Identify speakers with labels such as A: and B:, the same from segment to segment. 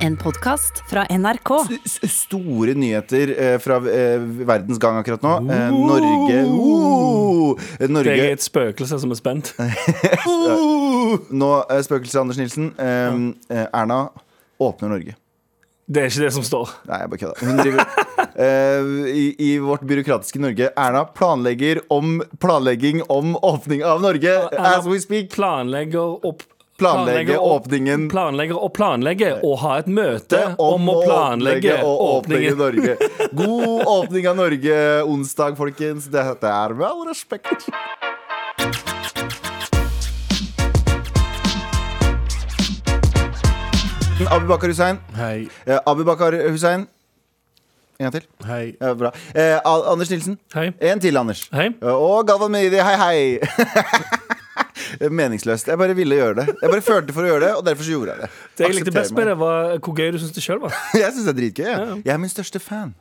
A: En podkast fra NRK.
B: S- Store nyheter eh, fra eh, verdens gang akkurat nå. Eh, Norge oh! Norge
C: Jeg er et spøkelse som er spent.
B: Nå, eh, spøkelset Anders Nilsen. Eh, eh, Erna åpner Norge.
C: Det er ikke det som står.
B: Nei, jeg bare kødda. Hun driver Eh, i, I vårt byråkratiske Norge. Erna planlegger om planlegging om åpning av Norge
C: Erna-
B: as we speak.
C: Planlegger opp
B: Planlegge
C: opp-
B: åpningen.
C: Planlegger å planlegge og ha et møte
B: Om,
C: om, å planlegge
B: åpne og åpne
C: åpningen.
B: Norge. God åpning av Norge onsdag, folkens. Det, det er med all respekt. Abubakar Hussein.
D: Hei,
B: Eh, Abubakar Hussein. En gang til.
D: hei.
B: Ja, bra. Eh, Al- Anders Nilsen.
C: Hei.
B: En til, Anders.
C: Hei.
B: Og Galvan Mehidi, hei, hei. Meningsløst. Jeg bare ville gjøre det. Jeg bare følte for å gjøre det, og derfor så gjorde jeg det.
C: Det jeg likte
B: Aksepter
C: best
B: meg.
C: med det, var hvor gøy du syns det sjøl var.
B: Jeg syns det er dritgøy. Jeg. jeg er min største fan.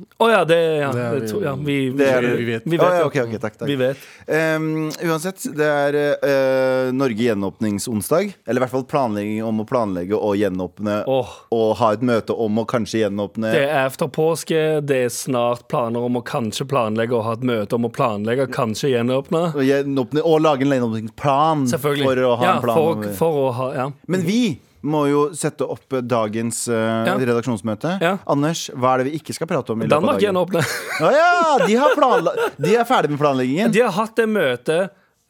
C: Å ja, det, ja,
D: Det er
C: det
D: vi-
C: tror- ja, vi, vi,
B: Det er
D: det.
C: vi vet.
D: Vi
C: Vi
B: Å,
C: vet,
B: ja,
C: ja.
B: ok, ok, takk, takk.
C: Vi vet.
B: Ehm, uansett, det er eh, Norge gjenåpningsonsdag. Eller i hvert fall planlegging om å planlegge og gjenåpne.
C: Åh.
B: Og ha et møte om å kanskje gjenåpne.
C: Det er efter påske, det er snart planer om å kanskje planlegge og ha et møte om å planlegge, kanskje gjenåpne.
B: Og, gjenåpne og lage en gjenåpningsplan
C: Selvfølgelig.
B: Mm. for å ha
C: ja,
B: en plan.
C: For,
B: over-
C: for å ha, ja.
B: Men vi må jo sette opp eh, dagens eh,
C: Ja.
B: redaksjonsmøte.
C: Ja.
B: Anders, hva er det vi ikke skal prate om? i løpet av
C: Danmark
B: dagen?
C: gjenåpner.
B: Å ja, de, har planla de er ferdig med planleggingen.
C: De har hatt det møtet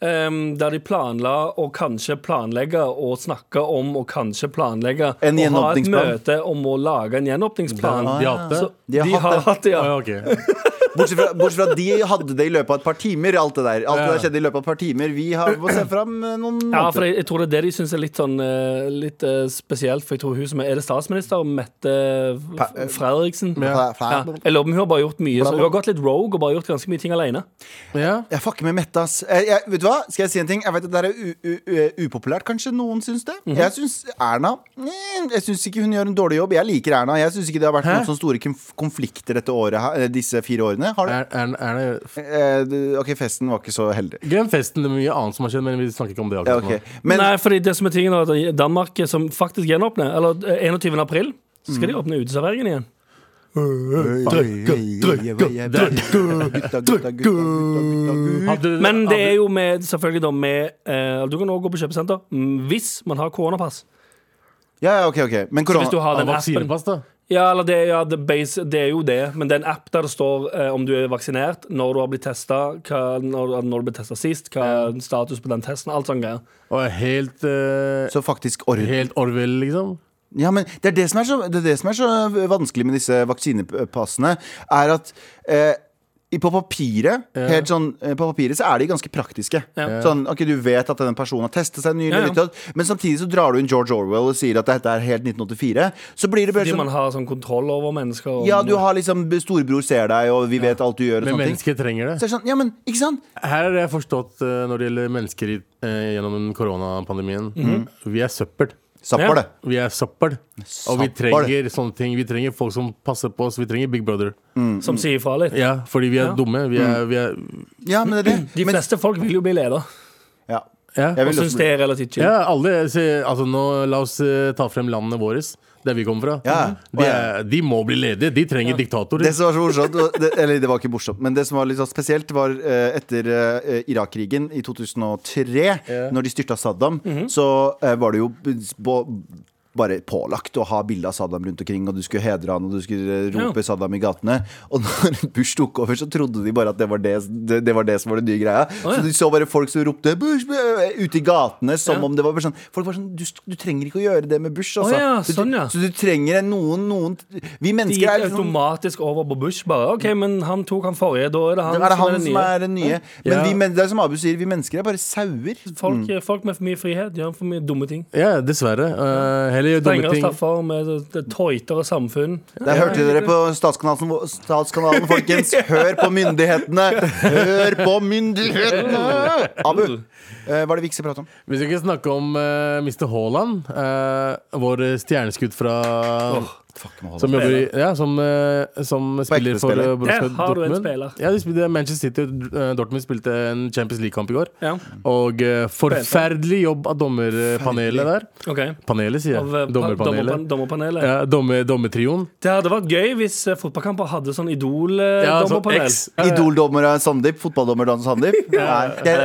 C: em, der de planla å kanskje planlegge og snakke om å kanskje planlegge
B: En
C: å ha et
B: gjenåpningsplan.
C: møte om å lage en gjenåpningsplan.
B: Ja,
D: De har hatt det?
C: Så
B: De har
C: de
B: hatt
C: har
B: det.
C: hatt det, ja.
D: Å, ja, ok.
B: Bortsett fra, bortsett fra at de hadde det i løpet av et par timer. Alt det der Alt det
D: Ja.
B: der skjedde i løpet av et par timer Vi har må se fram eh, noen
C: Ja, for
B: måneder.
C: jeg, jeg tror det er det de syns er litt sånn eh, Litt eh, spesielt. For jeg tror hun som er Er det statsminister? Mette F- Fredriksen?
B: Fra- fra-
C: Ja. Jeg lover, hun har bare gjort mye så Hun har gått litt rogue og bare gjort ganske mye ting alene.
D: Ja.
B: Jeg fucker med Mette, ass. Jeg, jeg, vet du hva? Skal jeg si en ting? Jeg vet at det er u, u, u, upopulært, kanskje noen syns det. Jeg syns Erna mm, Jeg syns ikke hun gjør en dårlig jobb. Jeg liker Erna. Jeg syns ikke det har vært
D: Hæ?
B: noen sånne store konf- konflikter dette året, her- eh, disse fire årene. Har det?
D: Er, er, er det
B: Eh, du- OK, festen var ikke så heldig.
D: Glem festen, det er mye annet som har skjedd, men vi snakker ikke om det.
B: Ja,
D: akkurat nå.
B: ok. Men
C: Nei, fordi det som er tingen er at Danmark som faktisk gjenåpner Eller eh, 21. april så skal de
B: Mm.
C: åpne uteserveringen igjen.
B: Gutta, gutta, gutta, gutta, gutta.
D: Hadde,
C: Men det
D: hadde-
C: er jo med, selvfølgelig da med eh, Du kan også gå på kjøpesenter mm, hvis man har koronapass.
B: Ja, ja, ok, ok. Men
C: Hvis du
B: korona
C: har
D: hadde
C: den appen.
D: vaksinepass, da.
C: Ja, eller det, ja, det, base, det er jo det, men det er en app der det står eh, om du er vaksinert, når du har blitt testa, når, når du ble testa sist, hva er status på den testen, alt sånn greier.
D: Og helt, eh,
B: Så faktisk orden.
D: helt Orwell, liksom.
B: Ja, men det er det, som er så, det er det som er så vanskelig med disse vaksinepassene, er at eh, i- på papiret, helt sånn, eh, på papiret så er de ganske praktiske. Sånn, ok, Du vet at den personen har testa seg nylig,
C: Ja, ja.
B: ditt og datt, men samtidig så drar du inn George Orwell og sier at dette er helt 1984. Så blir det bare
C: Fordi man
B: sånn
C: har sånn kontroll over mennesker. og-
B: Ja, du har liksom storebror ser deg, og vi vet alt du gjør, og
D: Men
B: sånne ting.
D: mennesker
B: Så
D: trenger det.
B: er det sånn, ja, men ikke sant?
D: Her har jeg forstått eh, når det gjelder mennesker i, eh, gjennom koronapandemien.
B: Mhm.
D: Vi er søppel.
B: Zapper
C: Ja.
B: det.
D: Vi er søppel. Og
B: Søppel.
D: vi trenger sånne ting. Vi trenger folk som passer på oss. Vi trenger Big Brother.
B: Mhm.
C: Som sier ifra litt.
D: Ja, fordi vi er
C: Ja.
D: dumme. Vi er, vi er
B: Ja, men det er det.
C: De
B: Men,
C: fleste folk vil jo bli leder,
B: ja.
D: ja.
B: Jeg
C: og
B: vil
C: syns
B: også
C: det
B: bli
C: er relativt chill.
D: Ja, alle se, altså nå, La oss eh, ta frem landene våre, der vi kommer fra.
B: Ja.
D: De, er, de må bli ledige. De trenger diktatorer.
B: Det som var så morsomt, og det, eller det var ikke morsomt, men det som var litt sånn spesielt, var eh, etter eh, Irak-krigen i 2003, når de styrta Saddam,
C: Mhm.
B: så eh, var det jo b- bå- bare pålagt å ha bilde av Saddam rundt omkring, og du skulle hedre han, og du skulle eh, rope
C: Ja.
B: Saddam i gatene. Og når Bush tok over, så trodde de bare at det var det, det, det, var det som var den nye greia. Så de så bare folk som ropte Bush, Bush ute i gatene, som
C: Ja.
B: om det var bare sånn Folk var sånn Du, du trenger ikke å gjøre det med Bush, altså.
C: ja,
B: Du-
C: sånn, ja.
B: Så du trenger en- noen, noen Vi
C: De
B: mennesker
C: gikk
B: er sånn
C: automatisk over på Bush. bare, ok, men han tok han forrige, da er det han,
B: er det han
C: den
B: som
C: nye.
B: er den nye? Men
D: Ja.
B: vi, men det er som Abu sier, vi mennesker er bare sauer.
C: Folk,
B: Mm.
C: folk med for mye frihet gjør for mye dumme ting.
D: Ja, dessverre. Eh, heller gjør dumme
C: Strengere
D: ting.
C: straffer med det- det tøytere samfunn.
B: Der hørte dere på statskanalen, statskanalen, folkens. Hør på myndighetene! Hør på myndighetene! Abu, eh, hva er det vi ikke skal prate om?
D: Vi skal ikke snakke om eh, Mr. Haaland. eh, vår stjerneskudd fra,
B: Fuck, må holde
D: Som
B: opp.
D: jobber i Ja, som, eh, som spiller for
B: spiller.
D: eh, Borussia
C: Her har du en
D: Dortmund.
C: spiller.
D: Ja, de spilte Manchester City og eh, Dortmund spilte en Champions League-kamp i går.
C: Ja,
B: Mm.
D: Og eh, forferdelig jobb av dommerpanelet der.
C: ok
D: Panelet, sier
C: Av eh,
D: jeg.
C: pa-
D: Dommerpanelet.
C: dommerpan- Dommerpanelet.
D: Ja, dommer, dommertrioen.
C: Det hadde vært gøy hvis eh, fotballkamper hadde sånn
D: Ja, sånn
C: Idol-dommerpanel.
D: X.
B: Idoldommer er Sandeep, fotballdommer Dan Sandeep. Nei. Jeg-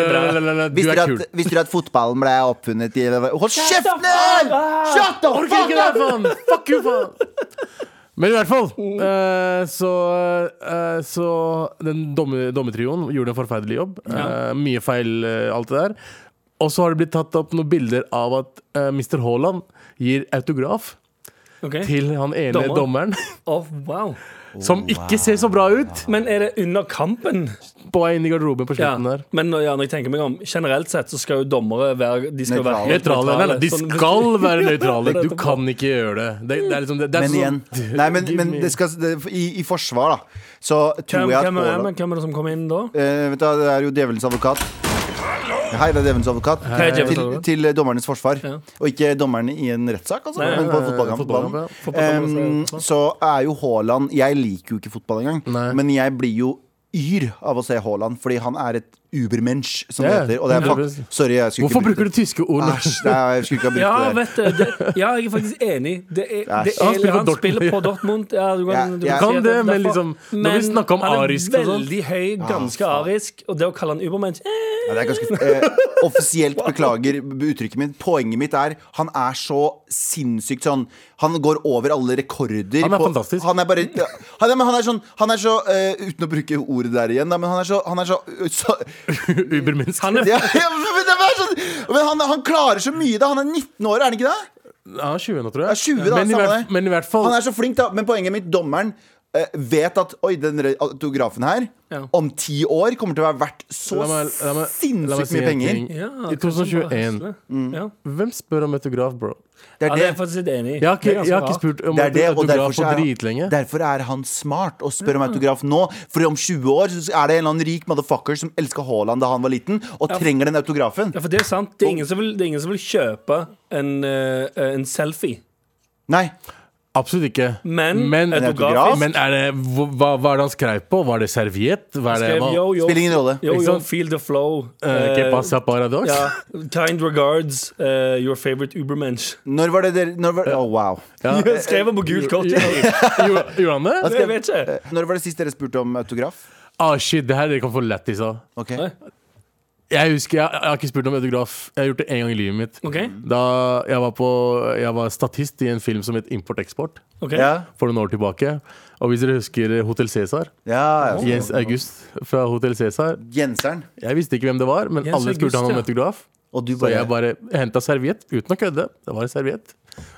B: Visste
D: Du
B: dere
D: er kul.
B: at, visste dere at fotballen ble oppfunnet i Hold kjeften! din! Shut the
D: Orker ikke
B: fuck up!
D: det her, faen! Fuck you, faen! Men i hvert fall, eh, så, eh, så den domme- dommetrioen gjorde en forferdelig jobb. Eh, mye feil, eh, alt det der. Og så har det blitt tatt opp noen bilder av at eh, Mr. Haaland gir autograf
C: Ok.
D: til han ene
C: Dommer.
D: dommeren,
C: Å, wow.
D: som ikke ser så bra ut,
C: Men er det under kampen?
D: på vei inn i garderoben på
C: Ja.
D: slutten der.
C: Men når- ja, når jeg tenker meg om generelt sett så skal jo dommere være De skal jo være
B: Nøytrale.
C: helt
D: Nøytrale. Nei, nei, de
C: Sånn-
D: skal være nøytrale.
C: Ja,
D: Du kan ikke gjøre det. Det, det er liksom det, det er
B: Men igjen
D: sånn-
B: Nei, men, men det skal, det, i, i forsvar, da, så
C: Hvem,
B: tror jeg at
C: hvem, er,
B: Haaland-
C: men hvem er det som kommer inn da?
B: Eh, vet du, hva, Det er jo djevelens advokat. Hei, det er djevelens advokat.
C: Hei, djevelens
B: Til,
C: advokat.
B: til dommernes forsvar.
C: Ja.
B: Og ikke dommerne i en rettssak, altså,
C: Nei, eh,
B: men på
D: nei,
B: fotballkampen.
D: fotballkamp,
C: ja.
B: Em, så er jo Haaland Jeg liker jo ikke fotball engang,
D: Nei.
B: men jeg blir jo yr av å se Haaland, fordi han er et ubermensch, som det
D: Ja,
B: heter. Og det er fakt
D: 100%.
B: Sorry, jeg skulle
D: Hvorfor
B: ikke
D: bruker du tyske ord?
B: Æsj, nei, jeg skulle ikke ha brukt
C: Ja,
B: det. der.
C: vet du, det, ja, jeg er faktisk enig. Det er, det er,
B: Han
D: spiller på
C: han
D: Dortmund,
C: spiller på
D: ja.
C: Dortmund. Ja, du kan,
B: Ja,
C: du
B: jeg-
C: si
B: Kan
C: at
D: det,
C: er
D: men
C: derfor.
D: liksom, når vi
C: Men
D: snakker om arisk og
C: Han er
D: sånn.
C: veldig høy, ganske
B: faen.
C: arisk, og det å kalle han ubermensch eh,
B: Ja, det er ganske, eh, offisielt beklager uttrykket mitt. Poenget mitt er han er så sinnssykt sånn Han går over alle rekorder.
D: Han er fantastisk.
B: Han er bare ja, han, er- men han er sånn han er så, eh, Uten å bruke ordet der igjen, da, men han er så, han er så, så
D: Ubermenneske.
C: Han er
B: ja, ja, men, det er sånn, men han, han klarer så mye, da. Han er 19 år, er han ikke det?
D: Ja, 20 nå, tror jeg.
B: Ja, 20 da,
D: men, i
B: samme
D: hvert,
B: det.
D: men i hvert fall
B: Han er så flink, da. Men poenget mitt, dommeren eh, vet at Oi, den re- autografen her,
C: Ja.
B: om ti år, kommer til å være verdt så
D: La meg- la meg- la meg
B: sinnssykt
D: si
B: mye
D: en
B: penger.
D: ting.
C: ja,
D: I Mm. 2021.
C: Ja.
D: Hvem spør om autograf, bro?
B: Det
C: ja,
B: er
C: det er
B: det.
C: jeg faktisk litt enig i.
D: Jeg har ikke,
C: Det er ganske
D: jeg har ikke
C: rart.
D: spurt om
B: Det er det, og
D: autograf
B: derfor,
D: på
B: så
D: dritlenge.
B: er, derfor er han smart og spør om autograf nå. For om 20 år så er det en eller annen rik motherfucker som elska Haaland da han var liten, og trenger den autografen.
C: Ja, for det er sant. Det er ingen som vil, det er ingen som vil kjøpe en, eh, en selfie.
B: Nei.
D: Absolutt ikke.
C: Men,
D: Men-
B: autograf?
C: autograf
D: Men er det, hva, hva hva er det han skrev på? Var det serviett? Hva er
C: skrev
D: det, hva?
C: yo, yo,
B: Spiller ingen rolle.
C: yo,
D: Ikke
C: yo,
D: sant?
C: feel the flow.
D: liksom- Eh,
C: Eh,
D: que pasa paradox?
C: ja. Kind regards, eh, your favorite ubermensch.
B: Når var det dere når var, Å, wow.
C: Skrev han på gult kort?
D: Jo-
C: Jeg
D: Gjorde gjorde han det?
C: vet ikke.
B: Når var det sist dere spurte om autograf?
D: Ah, shit, det her dere kan få lættis av.
B: Ok
D: Jeg husker, jeg, jeg har ikke spurt om autograf. Jeg har gjort det én gang i livet mitt.
C: OK.
D: Da jeg var, på, jeg var statist i en film som het Import-eksport
C: ok
B: Ja,
D: for noen år tilbake. Og hvis dere husker Hotell Cæsar?
B: ja, ja.
D: Jens August fra Hotell Cæsar.
B: Genseren.
D: Jeg visste ikke hvem det var, men
C: Jens
D: alle
C: August,
D: spurte han om
C: ja.
D: autograf.
B: Og du
D: Så
B: bare,
D: jeg bare henta serviett, uten å kødde. Det var en serviett.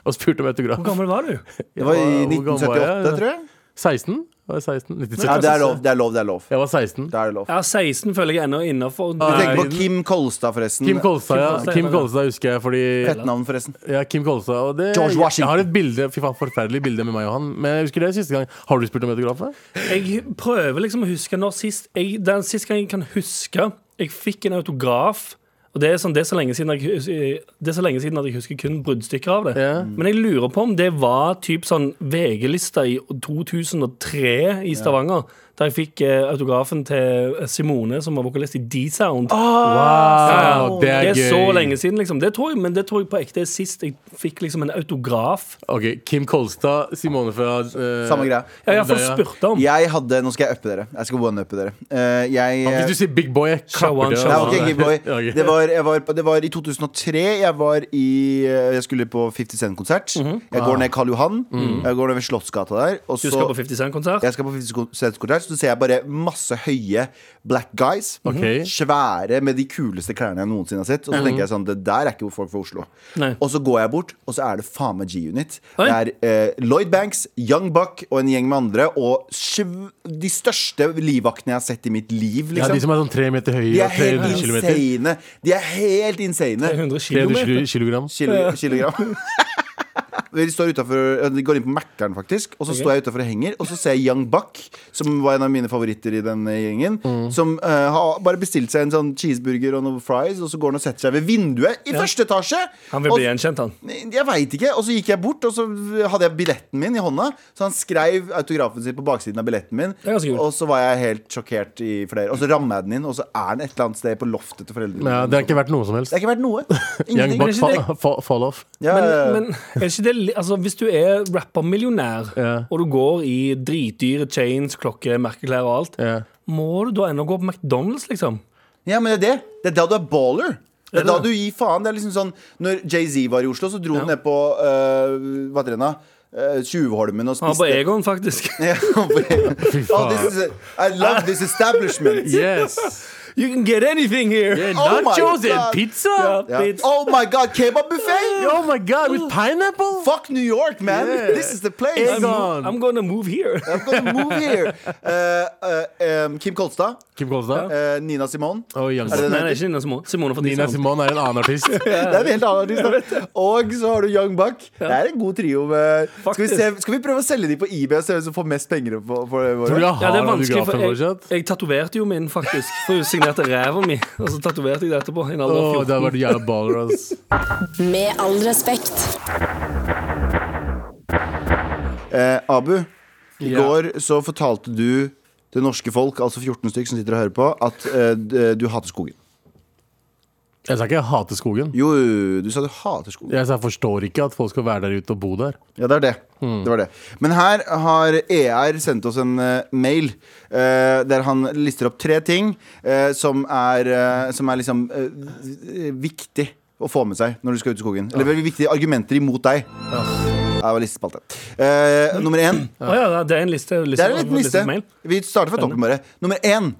D: Og spurte om autograf.
C: Hvor gammel var du?
B: Det var i
D: Hvor gammel var
B: 1978, tror jeg.
D: 16? Var jeg 16?
B: Ja,
D: 1970.
B: det er lov. Det er lov. Det er lov.
D: Jeg var 16.
B: Det er lov.
C: Ja, 16 føler jeg ennå innafor.
B: Du
D: Nei.
B: tenker på Kim Kolstad, forresten.
D: Kim Kolstad, ja.
C: Kolstad,
D: Kim
C: ja.
D: Kolstad husker jeg fordi
B: Fett navn, forresten.
D: ja, Kim Kolstad, og det,
B: George Washington.
D: Jeg har et bilde, fy faen, forferdelig bilde med meg og han. Men jeg husker det siste gang. Har du spurt om autograf? da?
C: Jeg prøver liksom å huske når sist jeg, Den sist gang jeg kan huske jeg fikk en autograf. Og det er, sånn, det, er så lenge siden jeg, hus- eh, det er så lenge siden at jeg husker kun bruddstykker av det.
D: Ja.
C: Men jeg lurer på om det var typ sånn VG-lista i 2003 i Stavanger. Der jeg fikk eh, autografen til Simone, som var vokalist i D-Sound.
D: Wow, det
C: det
D: er
C: er
D: gøy.
C: så lenge siden, liksom. Det tror jeg, men det tror jeg på ekte er sist jeg fikk liksom en autograf.
D: Ok, Kim Kolstad, Simone fra eh,
B: Samme greia.
C: Jeg har iallfall
D: Ja, ja.
C: spurt om.
B: Jeg hadde Nå skal jeg uppe dere. Jeg skal one-uppe dere. Eh, jeg
D: Hvis du sier Big Boy, jeg
C: Shawan,
D: klapper det. altså.
C: Shawan.
B: Nei, ok, Gibboy.
D: Ok.
B: Det, var, jeg var, på- det var i 2003. Jeg var i eh, Jeg skulle på 50 Cent-konsert. Jeg går ned Karl Johan. Jeg går ned ved Slottsgata der. Og
C: Mhm. Ah. Du skal på
B: så
C: 50 Cent-konsert.
B: jeg skal på 50 Cent-konsert, så ser jeg bare masse høye black guys.
C: Mhm.
D: Ok.
B: Svære med de kuleste klærne jeg noensinne har sett. Og så tenker jeg sånn, det der er ikke hvor folk fra Oslo.
C: Nei.
B: Og så går jeg bort, og så er det faen meg G-Unit.
C: Oi.
B: Det er eh, Lloyd Banks, Young Buck og en gjeng med andre. Og sv de største livvaktene jeg har sett i mitt liv.
D: Ja,
B: Liksom.
D: de som er sånn tre meter høye
B: De er
D: og 300
B: helt
D: kilometer.
B: insane. De er helt insane.
C: 100 kilometer.
D: 300 kilo- kilogram.
B: Kilo, kilogram. Vi står utenfor, de går inn på Mækkern, faktisk. Og så står jeg utafor og henger, og så ser jeg Young Buck, som var en av mine favoritter i den gjengen, som eh, har bare bestilt seg en sånn cheeseburger og noen fries, og så går han og setter seg ved vinduet i første etasje.
C: Han vil
B: Og-
C: bli gjenkjent, han.
B: jeg veit ikke. Og så gikk jeg bort, og så hadde jeg billetten min i hånda. Så han skrev autografen sin på baksiden av billetten min.
C: er ganske kult.
B: Og så var jeg helt sjokkert i flere. Og så rammer jeg den inn, og så er den et eller annet sted på loftet til foreldrene
D: Ja,
B: mine.
D: det har ikke vært noe som helst.
B: Det har ikke vært noe.
D: Young
B: Ingenting.
D: Buck fa fa fall off.
B: Ja,
C: Men,
B: ja, ja.
C: men er ikke det, li- altså, hvis du er rappermillionær,
D: Ja.
C: og du går i dritdyre chains, klokke, merkeklær og alt,
D: Ja.
C: må du da ennå gå på McDonald's, liksom?
B: ja, men det er det. Det er da du er baller. Det er da
C: det?
B: du gir faen. Det er liksom sånn Når Jay-Z var i Oslo, så dro han ned på øh, Hva heter den da? Øh, Tjuvholmen og
C: Han er på
B: spiste
C: Egon, faktisk.
B: Ja, på Egon. oh, this is a, I love this establishment.
D: Yes.
C: You can get anything here!
B: Oh my
D: Nachos and
B: God.
D: pizza!
C: Ja,
B: Ja.
C: bitch.
B: Oh my god, kebabbuffé!
D: Oh my god, with pineapple!
B: Fuck New York, man!
D: Yeah.
B: This is the place! I'm,
D: Egg
C: I'm,
D: on.
C: I'm gonna move here.
B: gonna move here! Eh, eh, em, Kim Kolstad,
D: Kim Kolstad
B: eh, Nina Simone
D: og Young
B: Er
D: Buck.
B: det-
C: Nei, det er ikke Nina Simone. Simone for
D: Nina Simone er en annen artist.
B: Det er en helt annen artist. da. Og så har du Young Buck. Det er en god trio. Med, skal, vi
C: Faktisk.
B: se, skal vi prøve å selge de på eBay og se hvem som får mest penger? For, for
D: Tror du
B: våre?
D: jeg
C: Ja,
D: har
C: det er vanskelig, for
D: autografen
C: jeg,
D: fortsatt?
C: jeg tatoverte jo min, faktisk. For hun signerte ræva mi, og så tatoverte jeg det etterpå. i en alder
D: Åh,
C: av 14.
D: det hadde vært jævla baller, ass.
A: Med all respekt.
B: Eh, Abu, i
D: Ja.
B: går så fortalte du det norske folk, altså 14 stykk som sitter og hører på, at eh, d- du hater skogen.
D: Jeg sa ikke jeg hater skogen.
B: Jo, du sa du hater skogen.
D: Jeg sa jeg forstår ikke at folk skal være der ute og bo der.
B: Ja, det er det.
C: Hmm.
B: det, var det. Men her har ER sendt oss en eh, mail eh, der han lister opp tre ting eh, som, er, eh, som er liksom eh, viktig å få med seg når du skal ut i skogen. Eller veldig viktige argumenter imot deg. Det var listespalte. Eh, nummer én.
C: Å ja, det er en liste. liste
B: Det er en liten liste.
C: mail.
B: Vi starter fra toppen, bare. Nummer én.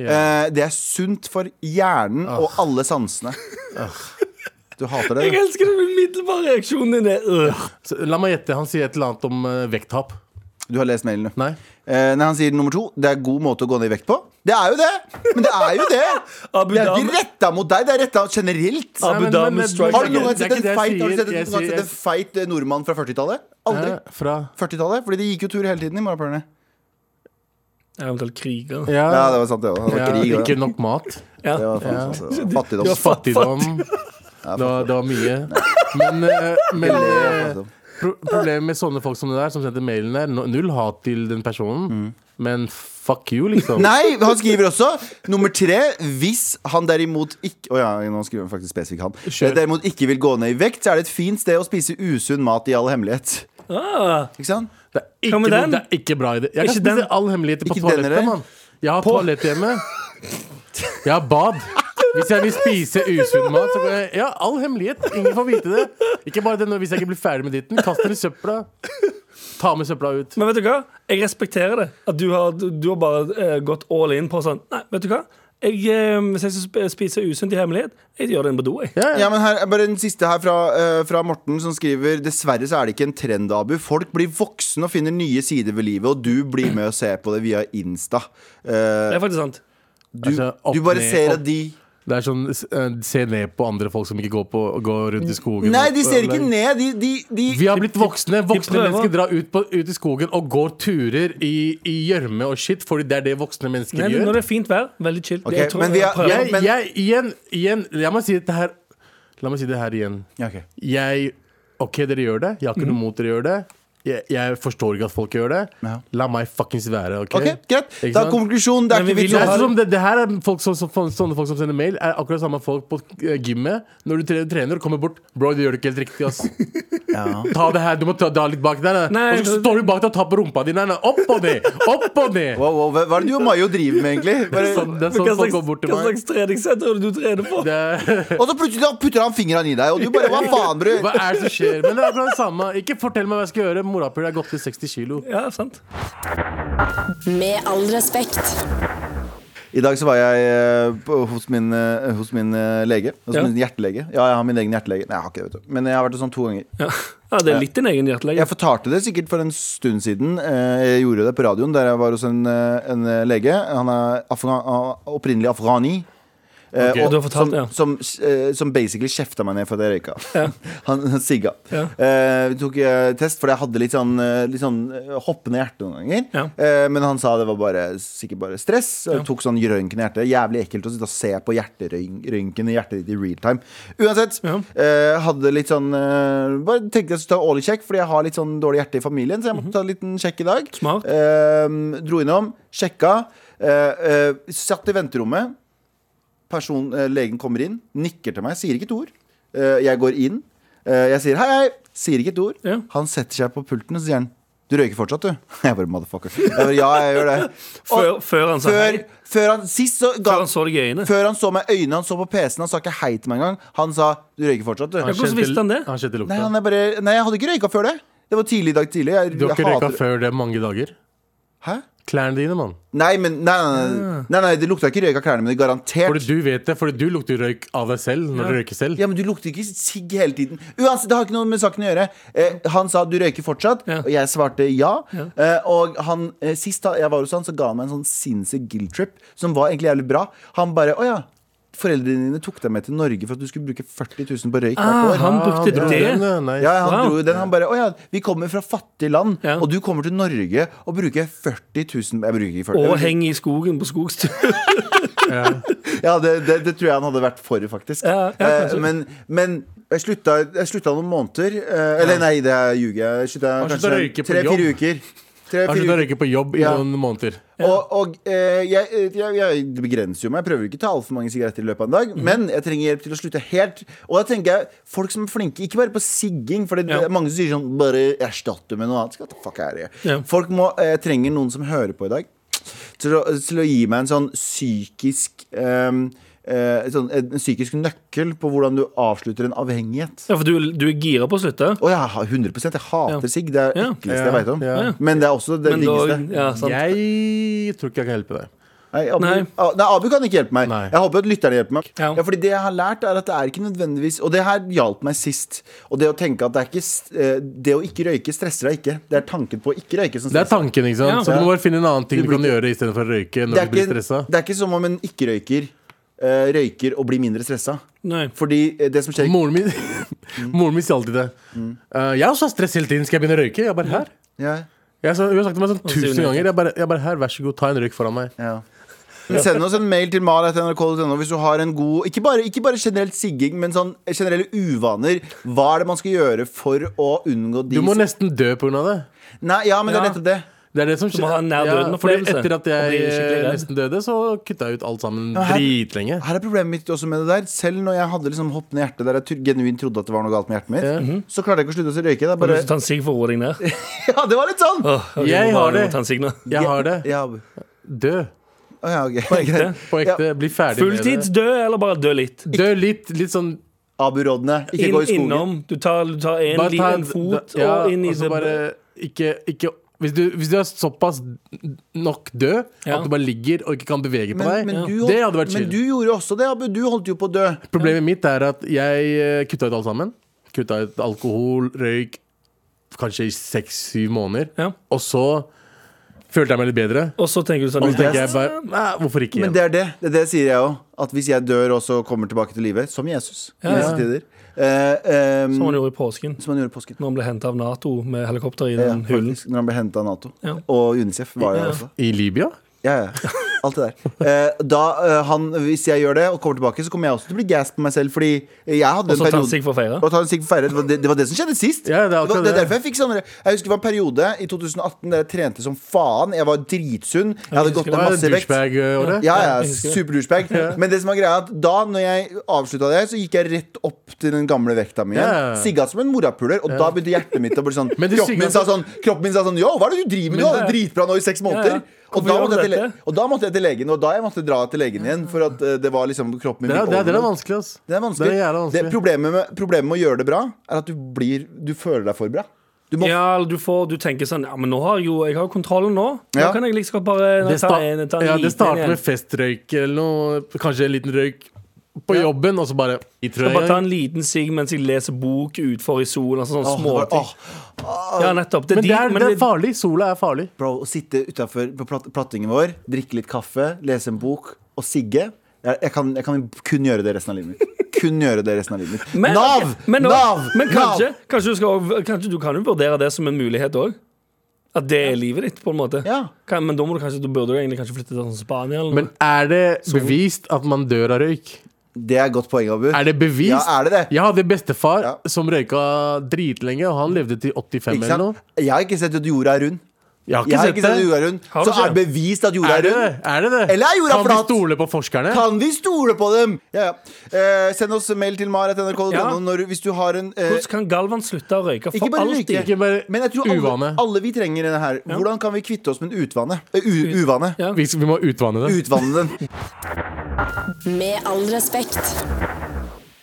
D: Ja.
B: Eh, det er sunt for hjernen og alle sansene. Du hater det?
C: Ah.
B: da?
C: Jeg elsker den umiddelbare reaksjonen din. er, øh.
D: Så, la meg gjette, han sier et eller annet om eh, vekttap.
B: Du har lest mailen, du.
D: Nei?
B: Eh, nei, Han sier nummer to Det er god måte å gå ned i vekt på. Det er jo det! Men det er jo det!
C: Abu
B: Det er jo
C: Dhabi.
B: ikke retta mot deg, det er retta generelt.
C: Abu
D: Nei, men-
C: Dhabi
D: men- men-
C: strikes
B: Har du noen
D: det
B: gang
D: er
B: sett
D: ikke
B: en
D: det jeg
B: feit, har du sett,
D: sier.
B: en-
D: Jeg
B: noen gang
D: sier-
B: sett en feit eh, nordmann fra 40-tallet? Aldri.
D: Eh, Fra
B: 40-tallet, Fordi de gikk jo tur hele tiden i morapulerne.
C: Eventuelt kriger.
D: Ja,
B: Ja, det var sant, det òg. Det
D: ja,
B: var krig. og-
D: ikke nok mat.
C: Ja.
B: Det var faen, altså, det var
D: Det
B: Fattigdom.
D: var fattigdom. Det var, det var mye. Men, eh, men eh,
B: Fattigdom.
D: pro problemet med sånne folk som det der, som sendte mailen der, no- null hat til den personen, men fuck you, liksom.
B: Nei, han skriver også Nummer tre Hvis han derimot ikke Å ja, nå skriver han faktisk spesifikt han
D: Kjør.
B: Derimot ikke vil gå ned i vekt Så er det et fint sted å spise usunn mat i all hemmelighet
C: Ah,
B: Ikke sant?
D: Det er ikke,
C: Hva med
D: noe-
C: den?
D: det er ikke bra idé. Jeg kan
C: Ikke
D: spise
C: den.
D: all hemmeligheter på
B: Ikke den,
D: toalettet,
B: eller?
D: mann. Jeg har toalett hjemme. Jeg har bad. Hvis jeg vil spise usunn mat, så kan jeg Ja, all hemmelighet. Ingen får vite det. Ikke bare den, hvis jeg ikke blir ferdig med ditten, kast den i søpla. Ta med søpla ut.
C: men vet du hva? Jeg respekterer det. At du har, du du har bare eh, gått all in på sånn Nei, vet du hva? Jeg, eh, hvis jeg skal sp- spise usunt i hemmelighet, jeg gjør det inne på do. jeg
D: Ja, ja.
B: Ja, men her, er bare en siste her fra, eh, fra Morten som skriver Dessverre så er det ikke en trend, Abu Folk blir voksne og finner nye sider ved livet Og du blir med og ser på det via Insta Eh,
C: Det er faktisk sant.
B: du,
D: Altså, opp
B: du bare
D: ned,
B: ser
D: opp.
B: at de
D: Det er sånn eh, se ned på andre folk som ikke går, på, går rundt i skogen.
B: Nei,
D: og-
B: de ser ikke ned De, de, de
D: Vi har blitt voksne. Voksne
C: prøver.
D: mennesker drar ut, på, ut i skogen og går turer i i gjørme og shit, fordi det er det voksne mennesker
C: Nei, men
D: gjør.
C: når det er fint vær, veldig chill.
B: Ok,
C: Jeg tror-
B: men vi er-
C: prøver.
D: jeg,
B: men-
D: jeg, igjen, igjen, jeg må si dette her La meg si det her igjen.
B: Ja, ok.
D: Jeg OK, dere gjør det. Jeg har ikke noe mot dere gjør det. Jeg, jeg forstår ikke at folk gjør det.
B: Ja.
D: La meg fuckings være, OK?
B: Ok, greit
D: Ikke
B: Da
D: sant?
B: er konklusjonen Det er
C: Men vi
B: ikke
C: vil
B: vits
D: Det
B: å
D: er
B: ha
D: sånn som det, det her er folk som, som, sånne folk som sender mail, er akkurat samme folk på eh, gymmet. Når du tre- trener og kommer bort 'Bro, du gjør det ikke helt riktig, ass'. Ta det her, Du må ta, dra litt bak der. da.
C: Nei,
D: og så står du bak deg og tar på rumpa di. Nei, nei, opp og ned! Opp og ned!
B: Wow, wow, hva hva er det du og Mayo driver med, egentlig?
D: Det er
B: Bare,
D: sånn, det er
C: Hva
D: sånn folk
C: slags,
D: går bort til
C: hva
D: meg.
C: slags treningssenter er det du trener på?
D: Det er,
B: og så plutselig da putter han fingeren i deg, og du bare Hva faen, bror?
D: hva er det som skjer? Men det er akkurat det samme. Ikke fortell meg hva jeg skal gjøre. Morapuler er gått til 60 kilo.
C: Ja, sant.
A: Med all respekt.
B: I dag så var jeg eh, på, hos min, eh, hos min eh, lege. Hos
C: Ja.
B: min hjertelege. Ja, jeg har min egen hjertelege. Nei, jeg har ikke det, vet du. Men jeg har vært det sånn to ganger.
C: Ja. ja, det er litt din egen hjertelege.
B: Jeg fortalte det sikkert for en stund siden. Eh, Jeg gjorde det på radioen der jeg var hos en, eh, en lege. Han er afra, ah, opprinnelig eh, afghani. Eh, Eh,
D: Ok.
B: og
C: Du har fortalt, ja.
B: som, som, eh, som basically kjefta meg ned for at jeg røyka. Han, han sigga.
C: Ja.
B: Eh, vi tok eh, test, fordi jeg hadde litt sånn, eh, litt sånn eh, hoppende hjerte noen ganger.
C: Ja.
B: Eh, men han sa det var bare, sikkert bare stress. Og
C: Ja.
B: Tok sånn røntgen i hjertet. Jævlig ekkelt å sitte og se på hjerterøntgen i hjertet ditt i real time. Uansett.
C: Ja.
B: eh, hadde litt sånn eh, Bare tenkte jeg skulle ta årlig sjekk, fordi jeg har litt sånn dårlig hjerte i familien. Så jeg måtte ta en liten sjekk i dag.
C: Mhm. Smart.
B: Eh, dro innom, sjekka. eh, eh, satt i venterommet. Person, eh, legen kommer inn, nikker til meg, sier ikke et ord. Eh, jeg går inn. eh, jeg sier hei, hei, sier ikke et ord.
C: Ja.
B: Han setter seg på pulten og sier han du røyker fortsatt, du? Jeg bare motherfucker. Jeg bare, ja, jeg gjør det.
C: Før, før han sa
B: Før,
C: hei.
B: før han sist så ga
C: Før han så deg i øynene.
B: Før han så meg i øynene, han så på PC-en, han sa ikke hei til meg engang. Han sa du røyker fortsatt, du.
C: hvordan
D: kjente-
C: visste han det?
D: Han kjente
B: Nei,
D: lukta.
B: han er bare, nei, jeg hadde ikke røyka før det. Det var tidlig i dag tidlig. Jeg,
D: Du har
B: jeg
D: ikke røyka
B: hater
D: før det mange dager.
B: Hæ?
D: Klærne dine, mann.
B: Nei, men nei, nei, nei, nei, nei, det lukta ikke røyk av klærne mine, garantert.
D: Ah. Fordi du vet det, fordi du lukter røyk av deg selv når du røyker selv.
B: Ja, men du lukter ikke sigg hele tiden. Uansett, det har ikke noe med saken å gjøre. Eh, han sa du røyker fortsatt,
C: Ja.
B: og jeg svarte ja. Eh, og han, eh, sist da jeg var hos han, så ga han meg en sånn sinnssyk guilt trip, som var egentlig jævlig bra. Han bare å ja. Foreldrene dine tok deg med til Norge for at du skulle bruke 40 000 på røyk hvert
C: Ah,
B: år.
C: han
D: Ah, han
C: brukte
D: dro den,
C: det.
D: ja, nice.
B: Ja, han
C: Wow.
B: dro jo den. Han bare Å ja, vi kommer fra fattige land,
C: Ja.
B: og du kommer til Norge og bruker 40 000 Jeg bruker ikke 40 000.
C: Og henge i skogen på skogstur.
B: Ja, det, det, det tror jeg han hadde vært for, faktisk.
C: Ja, ja,
B: Eh,
C: kanskje.
B: men men jeg, slutta, jeg slutta noen måneder. eh, eller nei, det er- ljuger jeg. Jeg slutta
D: Han slutta å røyke
B: kanskje
D: på
B: tre-fire
D: jobb.
B: uker. Tre, fire
D: Han slutta å
B: uker.
D: røyke på jobb i
B: Ja.
D: noen måneder.
B: Og, og eh, jeg, jeg, jeg det begrenser jo meg. Jeg prøver ikke å ta altfor mange sigaretter i løpet av en
C: Mhm.
B: dag. Men jeg trenger hjelp til å slutte helt. Og da tenker jeg folk som er flinke, ikke bare på sigging. For det
C: Ja.
B: det er mange som sier sånn Bare erstatt det med noe annet. Skal jeg ta fuck er det?
C: Ja.
B: Folk må, eh, jeg trenger noen som hører på i dag, til å, til å gi meg en sånn psykisk ehm, eh, sånn, En psykisk nøkkel på hvordan du avslutter en avhengighet.
C: Ja, for du, du er gira på å slutte.
B: Å ja, 100 Jeg hater
C: Ja.
B: sigg. Det er det
C: Ja.
B: ekleste jeg veit om.
D: Ja.
B: Men det er også det
C: Men da,
B: diggeste.
C: ja, sant.
D: Jeg tror ikke jeg kan hjelpe deg.
B: Nei, Abu,
C: Nei.
B: Ah, nei, Abu kan ikke hjelpe meg.
D: Nei.
B: Jeg håper at lytterne hjelper meg.
C: Ja.
B: Ja. fordi det jeg har lært er at det er ikke nødvendigvis Og det her hjalp meg sist. Og det å tenke at det er ikke s- eh, Det å ikke røyke stresser deg ikke. Det er tanken på å ikke røyke som
D: Det er
B: stresser.
D: tanken, ikke sant?
C: Ja.
D: Så du må bare finne en annen ting du kan gjøre istedenfor å røyke
B: Det
D: når
B: er,
D: du blir
B: ikke,
D: stressa.
B: det er ikke som om en ikke-røyker eh, røyker og blir mindre stressa.
C: Nei.
B: Fordi eh, det som skjer
D: Moren min, moren min sier alltid det. Uh, jeg også har stress hele tiden. Skal jeg begynne å røyke? Jeg bare her.
B: Mm. ja,
D: Jeg sa, hun har sagt det meg sånn
C: sier hun
D: tusen
C: nei.
D: ganger. Jeg bare, jeg bare her, vær så god, ta en røyk foran meg.
B: ja. Men Send oss en mail til mal.nrk.no hvis du har en god Ikke bare, ikke bare generelt sigging, men sånn generelle uvaner. Hva er det man skal gjøre for å unngå de
D: Du må nesten dø pga. det.
B: Nei, ja, men det
C: Ja.
B: er nettopp det.
D: Det er det som
C: Du må ha en nær døden-opplevelse.
D: Etter at
C: Og
D: jeg
C: bli skikkelig
D: eh,
C: redd.
D: nesten døde, så kutta jeg ut alt sammen
B: her-
D: dritlenge.
B: Her er problemet mitt også med det der Selv når jeg hadde liksom hoppende hjerte der jeg tu- genuint trodde at det var noe galt med hjertet mitt,
D: Ja.
B: så klarte jeg ikke å slutte å røyke. Det, er
C: Har du
B: bare,
C: lyst til å ta en sigg for å roe deg ned?
B: ja, det var litt sånn!
C: Åh, ok,
D: Jeg
C: må bare-
D: har
C: må
D: det.
C: Ta en sigg nå.
D: Jeg har det.
B: Ja, Abu.
D: Dø.
B: Å, ja, ok. Greit.
D: På ekte. Bli ferdig med det.
C: Fulltids dø, eller bare dø litt?
D: Dø litt, litt sånn
B: Abu-rådene. Ikke gå i
C: Inn,
B: skogen.
C: innom. Du tar, du tar en
D: Bare ta
C: liten fot
D: da- ja,
C: og inn i
D: og så
C: det-
D: bare ikke, ikke hvis du, hvis du er såpass nok død
C: Ja.
D: at du bare ligger og ikke kan bevege på
B: Men,
D: deg,
B: men, du
D: det hadde vært
B: holdt, men
D: chill.
B: du gjorde jo også det, Abu. Du holdt jo på å dø.
D: Problemet mitt er at jeg eh, kutta ut alt sammen. Kutta ut alkohol, røyk, kanskje i seks-syv måneder.
C: Ja.
D: Og så følte jeg meg litt bedre.
C: Og så tenker du sånn
D: Og så
B: det-
D: tenker jeg bare Nei, hvorfor ikke
B: Men
D: igjen?
B: det er det. Det, er det sier jeg òg. At hvis jeg dør og så kommer tilbake til live, som Jesus i
C: Ja, ja.
B: disse tider eh, ehm,
C: Som han gjorde i påsken.
B: Som han gjorde i påsken.
C: Når han ble henta av Nato med helikopter i
B: Ja,
C: den hulen.
B: faktisk, når han ble henta av Nato.
C: Ja.
B: Og UNICEF var
C: Ja.
B: der også.
D: I Libya?
B: Ja, ja. Alt det der. Eh, da, eh, han, hvis jeg gjør det og kommer tilbake, så kommer jeg også til å bli gassed på meg selv. Fordi jeg hadde
C: Og
B: en
C: så ta en
B: periode
C: sigg for å feire.
B: og ta en sigg for feire. Det var det, det var det som skjedde sist.
D: Ja,
B: det,
D: det er
B: var,
D: akkurat
B: det er
D: det.
B: derfor Jeg fikk sånne Jeg husker det var en periode i 2018 der jeg trente som faen. Jeg var dritsunn. Jeg hadde gått
D: Det eh,
B: ned
D: var
B: masse vekt.
D: douchebag-året.
B: Ja,
C: Ja, jeg
B: ja,
C: husker det.
B: super douchebag. Men det som er greia er at da når jeg avslutta det, så gikk jeg rett opp til den gamle vekta mi. igjen.
D: Ja.
B: Sigga som en morapuler, og da begynte hjertet mitt å bli sånn
D: Men du
B: Kroppen min
D: sigga
B: sa sånn Kroppen min sa sånn Yo, hva er det du driver med? Du
C: Men-
B: hadde det dritbra nå i seks
C: Ja,
B: måneder.
C: ja.
B: Og,
C: Hvorfor
B: da
C: gjør
B: måtte, jeg
C: du
B: til,
C: dette?
B: og da måtte jeg til legen, og da jeg måtte dra til legen igjen. For at eh, det var liksom kroppen min
D: Det er,
B: gikk
D: det, er, det er
B: over.
D: vanskelig, ass.
B: Det er vanskelig.
D: Det er jævla
B: Det
D: vanskelig.
B: problemet, med, problemet med å gjøre det bra, er at du blir Du føler deg for bra. Du må
C: Ja, eller du, får, du tenker sånn Ja, men nå har jeg jo jeg har jo kontrollen nå. Nå
B: Ja.
C: kan jeg liksom bare
D: Det,
C: ta
D: sta
C: en, ta en
D: ja, det
C: liten
D: starter
C: igjen.
D: med festrøyk eller noe. Kanskje en liten røyk på jobben, og så bare i
C: Jeg Bare ta
D: trøya.
C: en liten sigg mens jeg leser bok utfor i solen. Altså sånne
B: Åh, det var-
C: småting.
B: åh,
C: Ja, nettopp. Det er
D: Men
C: de,
D: det er,
C: men
D: det er
C: det-
D: farlig. Sola er farlig.
B: Bro, å sitte utenfor på platt, plattingen vår, drikke litt kaffe, lese en bok og sigge. Jeg, jeg, kan, jeg kan kun gjøre det resten av livet mitt. Kun gjøre det resten av livet mitt.
C: Men-
B: Nav!
C: Men, nå-
B: Nav!
C: men kanskje,
B: Nav!
C: kanskje, du skal, også- kanskje du kan jo vurdere det som en mulighet òg. At det er livet ditt, på en måte.
B: Ja.
C: Kan, men da, må du kanskje, da burde du egentlig kanskje flytte til sånn Spania eller noe.
D: Men er det bevist at man dør av røyk?
B: Det er et godt poeng, Abu.
D: Er det bevist?
B: Ja, er det det?
D: Jeg hadde bestefar
B: Ja.
D: som røyka dritlenge, og han levde til 85
B: Ikke
D: eller
B: sant?
D: noe.
B: Jeg har ikke sett at jorda er rund.
D: Jeg har
B: Jeg
D: ikke
B: har
D: sett
B: ikke sett at
D: det.
B: jorda er rund.
C: Har du
B: Så
C: ikke?
B: er det bevist at jorda
D: Er
B: er
D: det det?
B: rund.
D: Er det det?
B: Eller er jorda
D: kan
B: flat?
D: vi stole på forskerne?
B: Kan vi stole på dem? Ja, ja. Eh, send oss mail til mar.nrk.no
C: Ja.
B: når- hvis du har en eh,
C: Hvordan kan Galvan slutte å røyke
B: Ikke
C: for
B: bare
C: alltid?
B: røyke,
D: Ikke bare
B: men jeg tror alle,
D: uvane.
B: alle vi trenger denne her. Hvordan kan vi kvitte oss med en utvane? Eh, u, uvane.
C: Ja.
D: Vi, vi må utvanne det.
B: Utvanne den.
A: Med all respekt.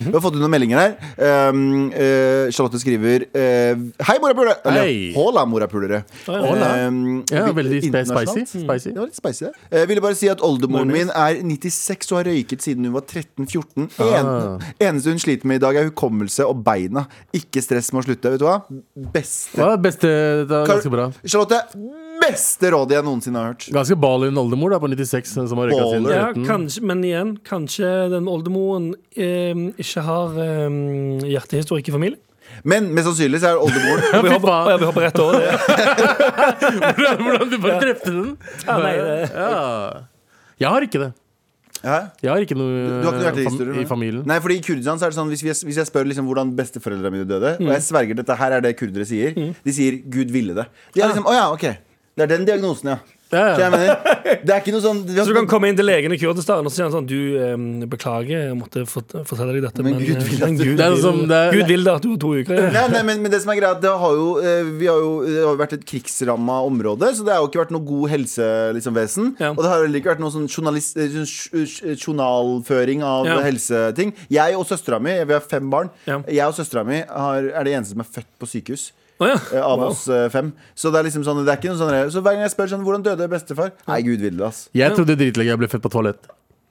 B: Vi har fått inn noen meldinger her. Um, eh, Charlotte skriver eh, Hei, morapulere!
D: Hei.
B: Eller hola, morapulere.
D: hola.
B: Um,
D: Ja,
B: vi-
D: veldig spe-
B: internasjonalt.
D: spicy. spicy.
B: Det var litt spicy, det. Jeg ville bare si at oldemoren min er 96 og har røyket siden hun var 13-14. En,
D: Ah.
B: Eneste hun sliter med i dag, er hukommelse og beina. Ikke stress med å slutte. Vet du hva? Beste
D: Ja, beste, det var ganske bra.
B: Charlotte, beste rådet jeg noensinne har hørt.
D: Ganske ballin oldemor da, på 96 som har røyka sin.
B: Baller.
C: Ja, kanskje, men igjen, kanskje den oldemoren eh, ikke har eh, hjertehistorikk i familien.
B: Men mest sannsynlig så er oldemoren
C: Vi
D: fy
C: hopper,
D: faen.
C: ja, vi hopper rett over det.
D: Hvordan du bare drepte den?
C: Ja, nei, det.
D: Ja. Jeg har ikke det.
B: Hæ?
D: Jeg har ikke noe
B: Du har ikke noe
D: eh, fam-
B: hjertehistorie?
D: i familien.
B: Nei, fordi I Kurdistan så er det sånn hvis, vi, hvis jeg spør liksom hvordan besteforeldrene mine døde Og
C: Mm.
B: jeg sverger dette her er det kurdere sier. De sier 'Gud ville det'.
C: Ah.
B: De er liksom, å ja, ok Det er den diagnosen, ja.
D: Ja, ja.
B: Så jeg mener, det er ikke noe sånn vi har
C: Så du kan
B: ikke-
C: komme inn til legen i Kurdistan og si sånn Du, eh, beklager, jeg måtte fort fortelle deg dette,
B: Men
C: men,
B: Gud
C: eh,
B: vil
C: men
B: at du-
C: Gud
D: Det er
C: vil-
D: som det-
C: Gud vil da at du har to uker igjen.
B: Nei, nei, men, men det som er greit, det har jo, eh, vi har jo, det har jo vært et krigsramma område, så det har jo ikke vært noe god helsevesen. Liksom, vesen.
C: Ja.
B: Og det har heller ikke vært noe sånn journalis- eh, sånn sj- sj- journalføring av
C: Ja.
B: helseting. Jeg og søstera mi, vi har fem barn,
C: Ja.
B: jeg og søstera mi har, er de eneste som er født på sykehus.
C: Å ja.
B: eh, Av
C: Wow.
B: oss eh, fem. Så det er liksom sånn, det er ikke noe sånn Så hver gang jeg spør sånn, hvordan døde bestefar Nei, gud ville det, ass.
D: Jeg trodde dritlenge jeg ble født på toalett.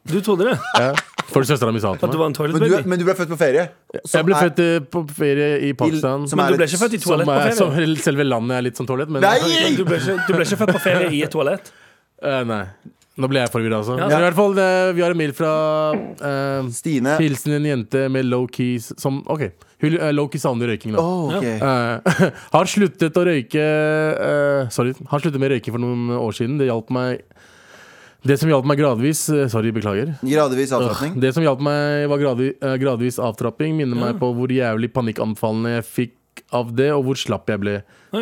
C: Du trodde det?
D: Ja. For søstera mi sa det
C: At du
D: til meg.
C: var en toilet
B: Men du,
C: baby?
B: men du ble født på ferie?
D: Jeg ble født eh, på ferie i
B: som
D: Pakistan. Som,
B: er
C: Men du ble
B: et-
C: ikke født i toalett på
D: er,
C: ferie?
D: som selve landet er litt som toalett, men
B: Nei!
C: Du ble, ikke, du ble ikke født på ferie i et toalett?
D: Eh, nei. Nå ble jeg forvirra, altså.
C: Ja.
D: Men I hvert fall, eh, vi har en mail fra eh,
B: Stine.
D: Hilsen en jente med low key s- som OK, hun eh, low key savner røyking nå.
B: Åh, ok.
D: Eh, har sluttet å røyke eh, Sorry, har sluttet med røyking for noen år siden. Det hjalp meg Det som hjalp meg gradvis eh, Sorry, beklager.
B: Gradvis avslapning.
D: Det som hjalp meg, var gradvis, eh, gradvis avtrapping. Minner meg på hvor jævlig panikkanfallene jeg fikk av det, og hvor slapp jeg ble.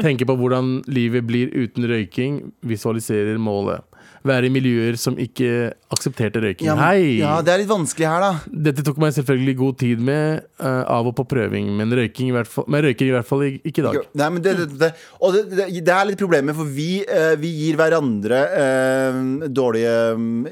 D: Tenker på hvordan livet blir uten røyking. Visualiserer målet. Være i miljøer som ikke aksepterte røyking.
B: Ja, men-
D: Hei!
B: ja, det er litt vanskelig her, da.
D: Dette tok meg selvfølgelig god tid med, eh, av og på prøving, men, røyking i hvert fall, men røyker i hvert fall ikke i dag.
B: Jo, Nei, men det, det, det, og det, det, det er litt problemet, for vi, eh, vi gir hverandre eh, dårlige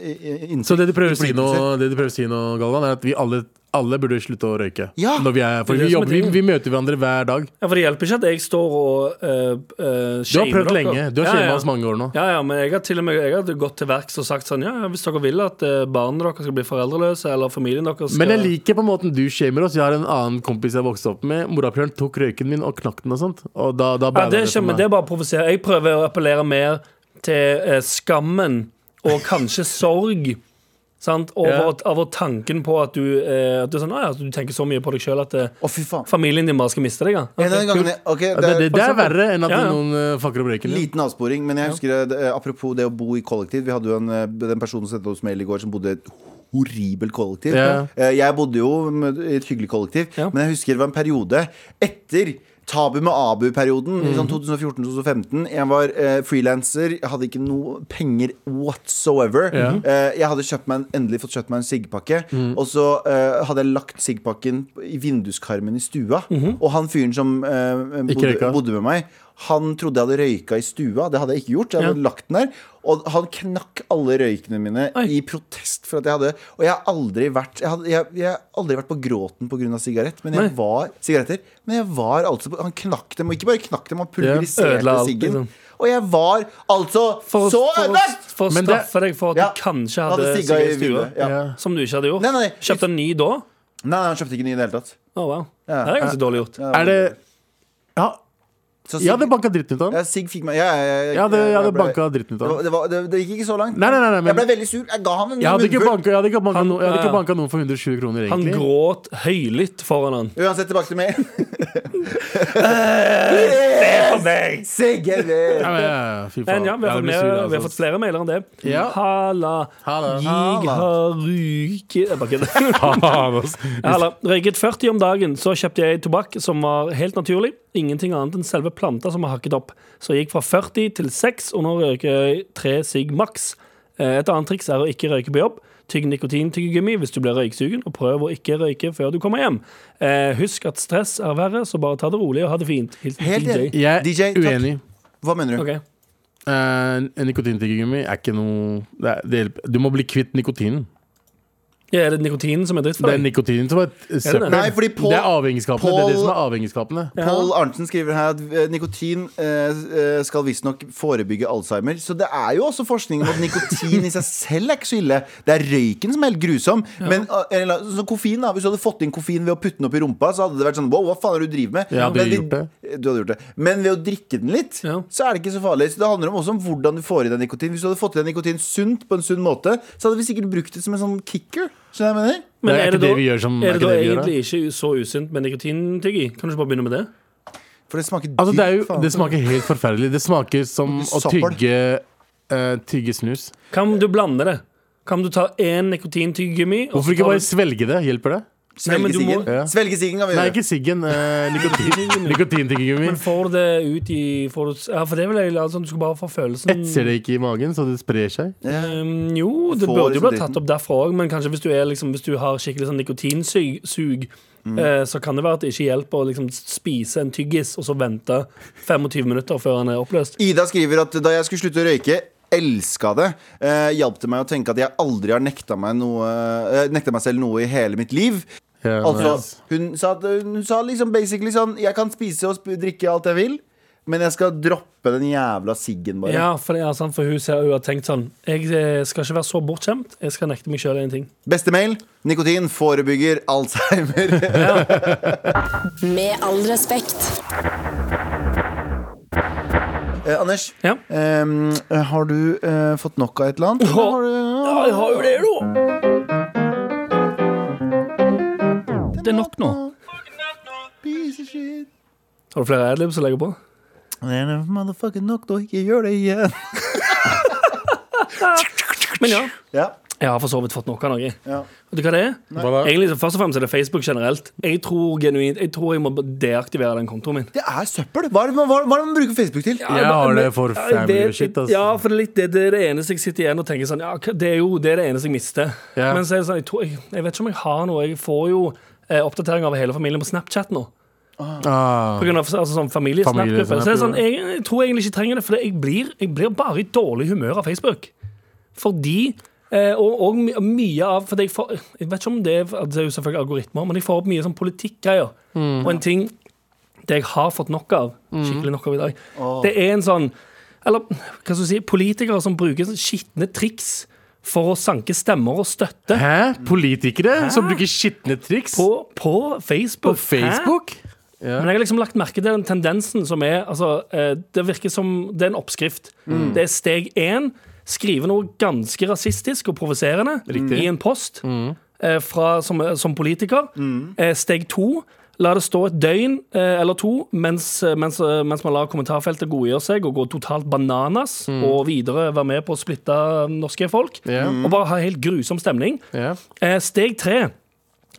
B: eh, innsikt.
D: Så det du prøver å si nå, det du prøver å si nå Galvan, er at vi alle, alle burde slutte å røyke.
B: Ja.
D: Når vi, er, for
C: Det er det som
D: vi,
C: er
D: jobber, vi,
C: tingen.
D: vi møter hverandre hver dag.
C: Ja, For det hjelper ikke at jeg står og uh,
D: Du har prøvd lenge. Du har shamet oss mange år nå.
C: Ja, ja, men jeg har til og med jeg har gått til verks og sagt sånn Ja, ja, hvis dere vil at eh, barna deres skal bli foreldreløse, eller familien deres skal
D: Men jeg liker på måten du shamer oss. Jeg har en annen kompis jeg vokste opp med. Morapuleren tok røyken min og knakk den og sånt. Og da, da
C: ja,
D: bada
C: det, er
D: for
C: ikke, men
D: meg.
C: det er bare å provosere. Jeg prøver å appellere mer til eh, skammen og kanskje sorg. Sant? Over,
D: Ja.
C: at- Over tanken på at du, eh, at du, er sånn, «Å ja, at du tenker så mye på deg sjøl at eh,
B: Å, fy faen.
C: familien din bare skal miste deg. Ja.
B: En av de gangene Ok,
D: Ja,
B: det
D: det,
B: er
D: det, det er verre enn at
C: Ja, ja.
D: noen eh, fucker opp røyken. din.
B: Liten avsporing, men jeg husker det, eh, apropos det å bo i kollektiv. Vi hadde jo en, eh, den personen som sendte oss mail i går, som bodde i et horribelt kollektiv.
D: Ja.
B: Eh, Jeg bodde jo med- i et hyggelig kollektiv,
C: Ja.
B: men jeg husker det var en periode etter Tabu med Abu-perioden i sånn 2014-2015. Jeg var eh, frilanser, jeg hadde ikke noe penger whatsoever.
D: Ja.
B: Eh, jeg hadde kjøpt meg en, endelig fått kjøpt meg en siggpakke, og så eh, hadde jeg lagt siggpakken i vinduskarmen i stua. Og han fyren som eh, bodde,
D: røyka.
B: bodde med meg, han trodde jeg hadde røyka i stua. Det hadde jeg ikke gjort. Jeg hadde lagt den der Og han knakk alle røykene mine
C: Oi.
B: i protest for at jeg hadde Og jeg har aldri vært Jeg, hadde, jeg, jeg har aldri vært på gråten pga. sigarett, men jeg
C: Nei.
B: var sigaretter. Men jeg var altså på- Han knakk dem, og ikke bare knakk dem, han pulveriserte
C: Ødela alt,
B: siggen.
C: liksom.
B: Og jeg var altså
C: For,
B: så
C: for,
B: ødelagt!
C: for å
D: Men det-
C: straffe deg for at
B: Ja.
C: du kanskje
B: Jeg
C: hadde
B: Hadde sigga i
C: sikkert i stua.
B: vinduet. Ja.
D: Ja.
C: Som du ikke hadde gjort.
B: Nei, nei,
C: Kjøpte en ny da?
B: Nei, nei, han kjøpte ikke ny i det hele tatt.
C: Å, wow.
B: Ja.
C: Det er ganske dårlig gjort.
D: Er det ja.
B: Så
D: Jeg hadde banka dritten ut av
B: ja,
D: ham.
B: Sig fikk meg ja, jeg, jeg,
D: Jeg hadde, jeg hadde
B: ble-
D: banka dritten ut
B: det,
D: av
B: var-
D: ham.
B: det, var- det- det gikk ikke så langt.
D: Nei, nei, nei, nei, men-
B: Jeg ble veldig sur. Jeg ga han en
D: Jeg hadde ikke
B: munnfull.
D: banka, jeg hadde ikke banka,
C: Han-
D: no, jeg hadde
C: ja,
D: ikke
C: ja.
D: banka noen for 120 kroner,
C: Han
D: egentlig.
C: gråt høylytt foran han.
B: Uansett, tilbake til meg.
D: Eh,
B: Sig, jeg vet.
D: Ja, men, ja, ja, fy faen.
C: Men ja, vi har,
D: Jeg hadde
C: fått,
D: blitt
C: mer,
D: sur,
C: vi har
D: altså.
C: fått flere mailer enn det.
D: Ja.
C: Halla.
D: Halla.
C: Jeg har ryket Jeg bare kødder.
D: Faen, ass.
C: Halla. Røyket 40 om dagen, så kjøpte jeg tobakk som var helt naturlig. Ingenting annet enn selve planta som var hakket opp. Så jeg gikk fra 40 til 6, og nå røyker jeg 3 sigg maks. Eh, Et annet triks er å ikke røyke på jobb. Tygg nikotintyggegummi hvis du blir røyksugen, og prøv å ikke røyke før du kommer hjem. Eh, husk at stress er verre, så bare ta det rolig og ha det fint. Hilsen
B: Helt
C: DJ.
B: enig.
D: Jeg er
B: DJ, takk.
D: uenig.
B: Hva mener du?
C: Ok.
D: Uh, nikotintyggegummi er ikke noe det er, det hjelper. Du må bli kvitt nikotinen.
C: Ja, er det nikotinen som er dritt for
D: Det er
C: deg?
D: nikotinen som er et søppel.
B: Nei, fordi Paul-
D: det er avhengighetsskapende. Det er det
B: Paul-
D: som er avhengighetsskapende.
B: Paul Arntzen skriver her at eh, nikotin eh, eh, skal visstnok forebygge Alzheimer. Så det er jo også forskning om at nikotin i seg selv er ikke så ille. Det er røyken som er helt grusom. Men eh, eller, så koffein da Hvis du hadde fått inn koffein ved å putte den opp i rumpa, så hadde det vært sånn Wow, hva faen er det du driver med?
D: Ja,
B: Men
D: hadde jeg
B: vi-
D: gjort
B: du hadde gjort det. Men ved å drikke den litt,
C: Ja.
B: så er det ikke så farlig. Så det handler om også om hvordan du får i deg nikotin. Hvis du hadde fått i deg nikotin sunt på en sunn måte, så hadde vi sikkert brukt det som en sånn kicker. Skjønner du hva jeg mener?
C: Men
D: Det er
C: da-
D: ikke det vi gjør som-
C: Er
D: er
C: det
D: ikke
C: da
D: det vi gjør, da?
C: egentlig ikke så usunt med nikotintyggi? Kan du ikke bare begynne med det?
B: For det smaker
D: Altså, det, er
B: dyrt,
D: jo,
B: faen.
D: det smaker helt forferdelig. Det smaker som å
B: Søppel.
D: tygge eh, Tygge snus.
C: Kan du blande det? Kan du ta én nikotintyggegummi og så
D: Hvorfor ikke
C: tar
D: bare
C: du-
D: svelge det? Hjelper det?
C: Nei, men
B: Svelge
C: du
B: siggen.
C: må-
B: Svelge siggen kan vi
D: Nei,
B: gjøre.
D: ikke siggen. eh, nikotin Nikotintyggegummi.
C: Men får du det ut i får du, Ja, for det er vel egentlig sånn, du skal bare få følelsen
D: Etser det ikke i magen, så det sprer seg.
B: Ja.
C: Um, jo, det
B: Får
C: burde jo
B: liksom
C: bli tatt opp derfra òg, men kanskje hvis du, er, liksom, hvis du har skikkelig sånn nikotinsug, sug,
D: Mm.
C: eh, så kan det være at det ikke hjelper å liksom, spise en tyggis og så vente 25 minutter før den er oppløst.
B: Ida skriver at da jeg skulle slutte å røyke Elska det. Eh, hjalp det meg å tenke at jeg aldri har nekta meg, noe, eh, nekta meg selv noe i hele mitt liv.
D: Ja,
B: Altså, hun sa, at, hun sa liksom basically sånn Jeg kan spise og sp drikke alt jeg vil, men jeg skal droppe den jævla siggen, bare.
C: Ja, for, det er sant, for hun, ser, hun har tenkt sånn Jeg eh, skal ikke være så bortskjemt. Jeg skal nekte meg sjøl en ting.
B: Beste mail. Nikotin forebygger alzheimer.
A: Med all respekt.
B: Eh, Anders,
C: Ja.
B: ehm, har du eh, fått nok av et eller annet?
C: Ja.
B: Har du,
C: Ja, jeg har jo det, da. Det er nok nå.
B: Piece of shit.
C: Har du flere adlibs å legge på?
B: Det er motherfucking nok nå, ikke gjør det igjen.
C: Men ja.
B: Ja,
C: Jeg har for så vidt fått noe av noe.
B: ja.
C: Vet du hva det er?
D: Hva da?
C: Egentlig, så først og fremst er det Facebook generelt. Jeg tror genuint Jeg tror jeg må deaktivere den kontoen min.
B: Det er søppel. Hva er det, hva, hva er det man bruker Facebook til?
D: Jeg har det for
C: Ja,
D: family
C: det-
D: og shit, ass.
C: Ja, for det er, litt, det, det er det eneste jeg sitter igjen og tenker sånn Ja, hva- det er jo det, er det eneste jeg mister.
D: Ja.
C: Men så er det sånn, jeg, tror, jeg, jeg vet ikke om jeg har noe. Jeg får jo eh, oppdatering av hele familien på Snapchat nå.
D: Ah,
C: På grunn av altså, sånn familie,
D: Familie,
C: Snap-gruppe. Så jeg, er sånn,
D: Snap,
C: jeg, jeg tror egentlig ikke jeg trenger det, for det- jeg blir, jeg blir bare i dårlig humør av Facebook. Fordi eh, og, og my- mye av fordi jeg, får, jeg vet ikke om det er altså, Det er jo selvfølgelig algoritmer, men jeg får opp mye sånn politikkgreier.
D: Mm.
C: Og en ting det jeg har fått nok av, skikkelig nok av i dag, det er en sånn Eller hva skal du si Politikere som bruker sånn skitne triks for å sanke stemmer og støtte
D: Hæ? Politikere som bruker skitne triks
C: på, på Facebook.
D: på
C: Hæ?
D: Facebook?
C: Men jeg har liksom lagt merke til den tendensen som er altså, eh, Det virker som det er en oppskrift.
D: Mm.
C: Det er steg én. Skrive noe ganske rasistisk og provoserende i en post
D: Mm.
C: eh, fra, som, som politiker. Eh, steg to. La det stå et døgn eh, eller to mens, eh, mens, mens man lar kommentarfeltet godgjøre seg og gå totalt bananas og videre være med på å splitte norske folk.
D: Mm. Ja.
C: Og bare ha helt grusom stemning.
D: Ja.
C: Eh, Steg tre.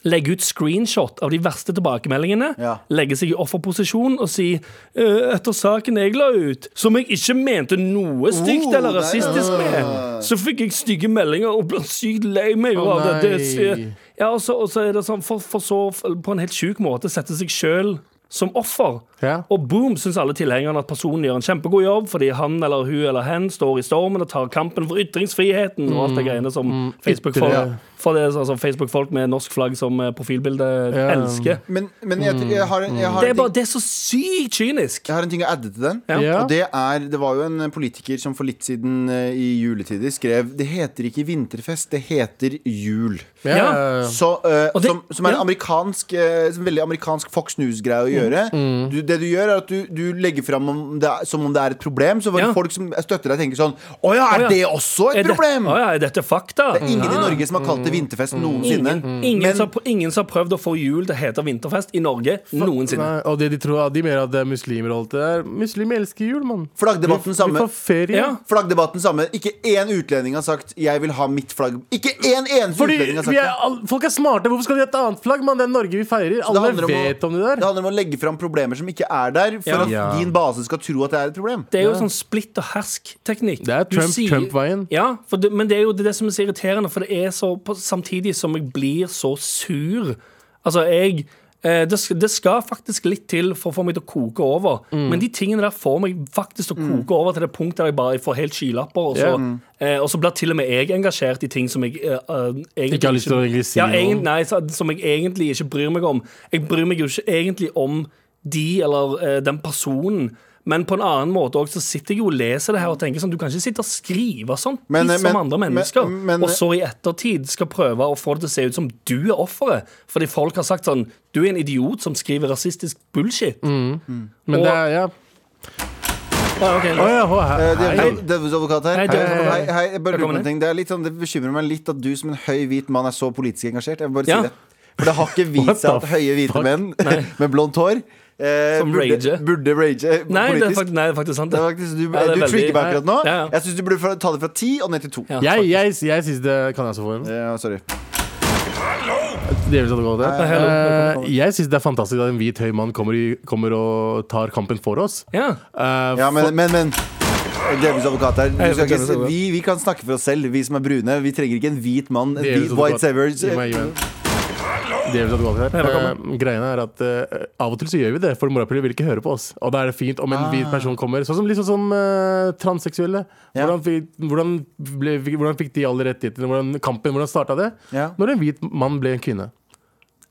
C: Legge ut screenshot av de verste tilbakemeldingene.
B: Ja.
C: Legge seg i offerposisjon og si «Eh, etter saken jeg la ut, som jeg ikke mente noe stygt
B: Oh,
C: eller
B: nei,
C: rasistisk med, så fikk jeg stygge meldinger og ble sykt lei meg
D: Å,
C: av det. det. er
D: nei.
C: sy- Ja, og så, og så er det sånn, for, for så f- på en helt sjuk måte sette seg sjøl som offer.
D: Ja.
C: Og boom, syns alle tilhengerne at personen gjør en kjempegod jobb fordi han eller hun eller hen står i stormen og tar kampen for ytringsfriheten og alt
B: Mm,
C: det greiene som Facebook-folk
D: ytre.
C: For det er altså Facebook-folk med norsk flagg som eh, profilbilde
D: Ja.
C: elsker.
B: Men, men jeg,
C: Mm.
B: jeg, har, en- jeg, har
C: Det
B: en
C: er, bare,
B: ting,
C: det er så sykt kynisk!
B: jeg har en ting å adde til den.
C: Ja.
D: Ja.
B: Og det er Det var jo en politiker som for litt siden eh, i juletider skrev Det heter ikke vinterfest, det heter jul.
D: Ja.
C: Ja.
B: Så, eh,
C: Og det-
B: som, som er en eh,
C: ja.
B: amerikansk eh, som veldig amerikansk Fox News-greie å gjøre.
C: Mm.
B: Du, det du gjør, er at du, du legger fram om det er, som om det er et problem. Så
C: Ja.
B: folk som støtter deg, tenker sånn Å ja,
C: Å
B: er
C: ja.
B: det også et
C: Er det-
B: problem?
C: Å ja, er dette fakta?
B: Det er ingen i
C: Ja.
B: Norge som har kalt det
C: Mm.
B: vinterfest noensinne.
C: Ingen, ingen,
B: Men-
C: som, har pr- ingen som har prøvd å få jul til å hete vinterfest i Norge noensinne.
D: Nei, og det de tror, de mener at det er muslimer og alt det der. Muslimer elsker jul, mann.
B: Flaggdebatten
D: Vi
B: samme.
D: får ferie.
C: Ja.
B: Flaggdebatten samme. Ikke én utlending har sagt 'jeg vil ha mitt flagg'. Ikke én eneste
D: Fordi
B: utlending har
D: vi
B: sagt
D: er,
B: det.
D: all- folk er smarte. Hvorfor skal de ha et annet flagg, mann? Det er Norge vi feirer.
B: Så det
D: Alle
B: handler om å-
D: vet om det
B: Det
D: der.
B: handler om å legge fram problemer som ikke er der, for
C: Ja.
B: at
D: Ja.
B: din base skal tro at det er et problem.
C: Det er jo sånn splitt og hersk-teknikk.
D: Det er
C: Du
D: Trump-
C: sier-
D: Trump-veien.
C: Ja, for det, men det er jo det, er det som er så irriterende, for det er så på, Samtidig som jeg blir så sur. Altså, jeg eh, det, sk- det skal faktisk litt til for å få meg til å koke over.
D: Mm.
C: Men de tingene der får meg faktisk til å koke over til det punktet der jeg bare får helt skylapper. Og så,
D: Ja.
C: eh, og så blir til og med jeg engasjert i ting som jeg eh, eh, egentlig
D: Ikke har lyst til å egentlig si
C: ja,
D: noe om.
C: egentlig, Nei, så- som jeg egentlig ikke bryr meg om. Jeg bryr meg jo ikke egentlig om de eller eh, den personen. Men på en annen måte også, så sitter jeg jo og leser det her og tenker sånn Du kan ikke sitte og skrive sånn
B: Men,
C: piss
B: men-
C: om andre mennesker,
B: men- men-
C: og så i ettertid skal prøve å få det til å se ut som du er offeret. Fordi folk har sagt sånn Du er en idiot som skriver rasistisk bullshit.
D: Mm.
B: Mm.
D: Men det er, ja.
C: Ja, Ah, ok.
D: Å ja, å,
B: Eh,
D: hei.
B: Djevelens adv- Djevelens advokat her.
C: Hei, djevelens advokat.
B: Hei, hei, jeg bare lurer på
C: Velkommen
B: en ting. Det, er litt sånn, det bekymrer meg litt at du som en høy hvit mann er så politisk engasjert. Jeg vil bare
C: Ja.
B: si det. For det har ikke vist seg
D: What
B: at
D: the
B: høye hvite
D: fuck?
B: menn med blondt hår eh,
C: Som
B: burde,
C: rager.
B: burde rage eh,
C: Nei, det er
B: politisk.
C: faktisk, nei, det er faktisk sant.
B: Det
C: Det.
B: er faktisk, du
C: Ja, det er
B: du
C: veldig-
B: trigger meg akkurat nå.
C: Ja, ja.
B: Jeg syns du burde fra- ta det fra ti og ned til to.
C: Ja.
D: Jeg, jeg, jeg syns det Kan jeg også få en?
B: Eh, sorry.
D: Djevelens advokat.
C: Hei, hallo.
D: Eh, jeg syns det er fantastisk at en hvit høy mann kommer, i, kommer og tar kampen for oss.
C: Ja.
D: Eh,
B: Ja, men, men, men Djevelens advokat her. Du
C: Jeg er
B: skal
C: djevelens
B: ikke,
C: advokat.
B: vi, vi kan snakke for oss selv, vi som er brune. Vi trenger ikke en hvit mann. En
D: Djevelens
B: hvit white
D: advokat.
B: savers.
D: Gi meg- gi meg en. Djevelens advokat her. Eh, greien er at eh, av og til så gjør vi det, for morapuler vil ikke høre på oss. Og da er det fint om en hvit person kommer. Sånn som, liksom, som eh, transseksuelle.
B: Ja.
D: Hvordan, fikk, hvordan, ble, hvordan fikk de alle rettighetene? Hvordan, kampen, hvordan starta det?
B: Ja.
D: Når en hvit mann ble en kvinne.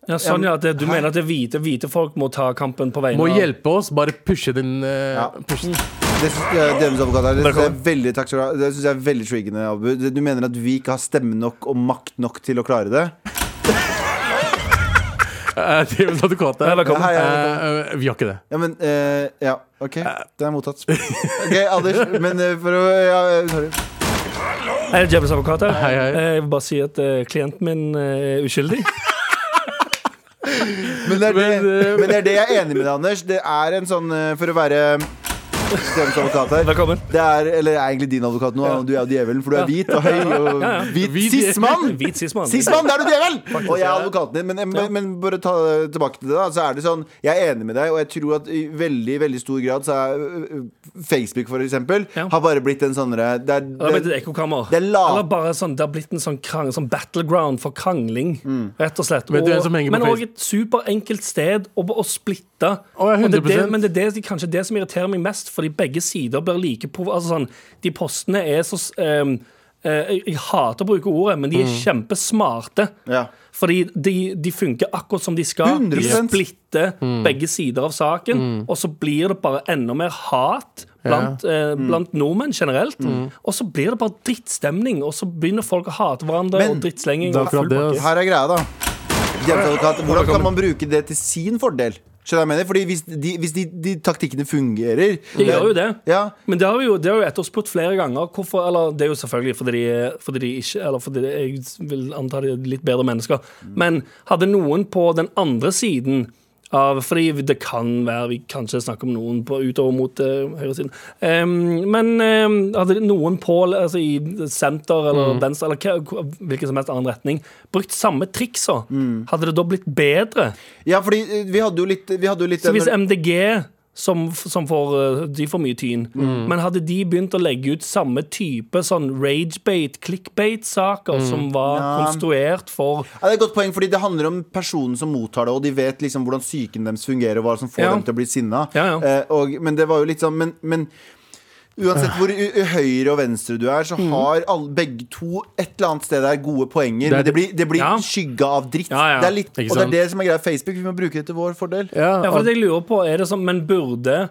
C: ja, sånn ja, at det, Du mener at det er hvite, hvite folk må ta kampen på vegne
D: Må
C: av
D: hjelpe oss, bare pushe den eh,
B: Ja.
D: pushe.
B: Det syns jeg, Djevelens advokat her, det synes jeg er
C: Velkommen.
B: veldig, takk skal du ha. Det synes jeg er veldig triggende, Abu. Det- Du mener at vi ikke har stemme nok og makt nok til å klare det?
D: Eh, Djevelens advokat
C: Ja,
D: her.
C: velkommen.
B: Hei, hei,
D: Eh, eh, vi har ikke det.
B: Ja, men eh, Ja, OK. Det er mottatt. OK, Anders, men eh, for å ja, eh, Sorry.
C: Er det Jebbles advokat her?
D: Hei, hei.
C: Eh, Jeg vil bare si at eh, klienten min eh, er uskyldig.
B: Men det, er det,
D: Men, eh,
B: men det er det jeg er enig med deg, Anders. Det er en sånn eh, For å være Djevelens advokat her.
C: Velkommen.
B: Det er, eller er egentlig din advokat nå, du er jo djevelen, for du er hvit og høy og hvit
D: Hvit-
B: sismann!
C: Hvit sismann.
B: Sismann, der er du djevel! Og jeg er advokaten din. Men, men, men bare ta det tilbake til det, da. Så er det sånn, jeg er enig med deg, og jeg tror at i veldig veldig stor grad så er ø, ø, Facebook, for eksempel,
C: Ja.
B: har bare blitt en sånn derre det,
C: Det har
B: er-
C: blitt
B: det,
C: et ekkokammer.
B: Det er la-
C: Eller bare sånn, det har blitt en sånn, krang, sånn battleground for krangling,
B: Mm.
C: rett og slett.
D: Vet du hvem
C: Og,
D: som henger på
C: men òg
D: Facebook?
C: et superenkelt sted å, å splitte.
D: Å, ja,
C: Og det er det,
D: 100%.
C: men det er det, kanskje det som irriterer meg mest, fordi begge sider blir like prov... Altså sånn, de postene er så s- ehm, eh, jeg, jeg hater å bruke ordet, men de er kjempesmarte.
B: Mm. Ja.
C: Fordi de, de funker akkurat som de skal. De
B: 100%.
C: splitter begge sider av saken, og så blir det bare enda mer hat blant, eh, blant nordmenn generelt. Og så blir det bare drittstemning, og så begynner folk å hate hverandre
B: Men-
C: og drittslenging.
D: Det er
C: og full
D: akkurat det,
C: pakke.
D: ass.
B: Her er greia, da. Djevelens advokat, hvordan kan man bruke det til sin fordel? Skjønner jeg mener? Fordi hvis de, hvis de, de taktikkene fungerer
C: De gjør jo det.
B: Ja.
C: Men det har vi jo, det har vi jo etterspurt flere ganger. Hvorfor, eller det er jo selvfølgelig fordi de, fordi de ikke Eller fordi de, jeg vil anta de er litt bedre mennesker. Men hadde noen på den andre siden av Fordi det kan være vi kanskje snakker om noen på, utover mot eh, høyresiden. Em, men em, hadde noen på altså i senter eller venstre eller hva- hva- hvilken som helst annen retning brukt samme triksa, hadde det da blitt bedre?
B: ja, fordi ø, vi hadde jo litt, vi hadde jo litt
C: Så hvis MDG som, som får, eh, de får mye tyn. Men hadde de begynt å legge ut samme type sånn ragebait, clickbait-saker som var
B: Ja.
C: konstruert for
B: Ja, det er et godt poeng, fordi det handler om personen som mottar det, og de vet liksom hvordan psyken deres fungerer, og hva som får
C: Ja.
B: dem til å bli sinna.
C: Ja, ja.
B: Eh, og, men det var jo litt sånn Men, men uansett hvor u- u- høyre og venstre du er, så har alle, begge to et eller annet sted der gode poenger.
D: er-
B: men det blir, det blir
C: Ja.
B: skygga av dritt.
C: Ja, ja.
B: Det er litt,
D: Ikke
B: og det
D: sant?
B: er det som er greia. Facebook, vi må bruke det til vår fordel.
D: Ja,
C: Ja, for
D: at-
C: det jeg lurer på, er det sånn Men burde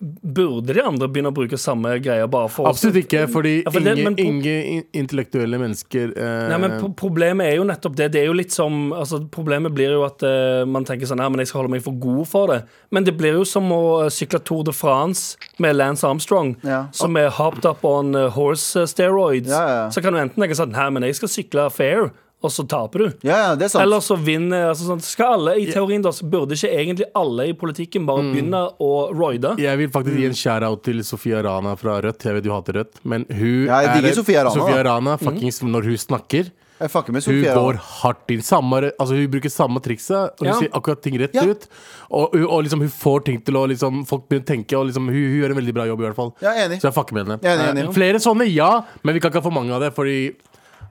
C: Burde de andre begynne å bruke samme greia bare for
D: Absolutt ikke, fordi
C: Ja, for det-
D: ingen,
C: men pro-
D: ingen in- intellektuelle mennesker eh,
C: Nei, men pro- Problemet er jo nettopp det. Det er jo litt som altså, Problemet blir jo at eh, man tenker sånn Nei, men jeg skal holde meg for god for det. Men det blir jo som å eh, sykle Tour de France med Lance Armstrong,
B: Ja.
C: som er hopped up on eh, horse steroids.
B: Ja, ja, ja.
C: Så kan du enten tenke sånn Nei, men jeg skal sykle fair, og så taper du.
B: Ja, ja, det er sant.
C: Eller så vinner altså sånn, Skal alle i teorien da, så burde ikke egentlig alle i politikken bare
B: Mm.
C: begynne å roide?
D: Jeg vil faktisk gi en shout-out til Sofia Rana fra Rødt. Jeg vet du hater Rødt, men hun
B: Ja, jeg digger
D: et-
B: Sofia Rana, da.
D: Sofia Rana fuckings, Når hun snakker,
B: Jeg fucker med
D: hun
B: Sofia. da.
D: går hardt inn. Samme, altså, hun bruker samme trikset. og Hun
C: Ja.
D: sier akkurat ting rett
B: Ja.
D: ut. Og, hun- og liksom, hun får ting til å liksom, Folk begynner å tenke, og liksom, hun, hun gjør en veldig bra jobb, i hvert fall.
B: Ja, enig.
D: Så jeg fucker med henne.
B: Ja, enig,
D: Eh,
B: enig.
D: Flere sånne, ja, men vi kan ikke ha for mange av det, fordi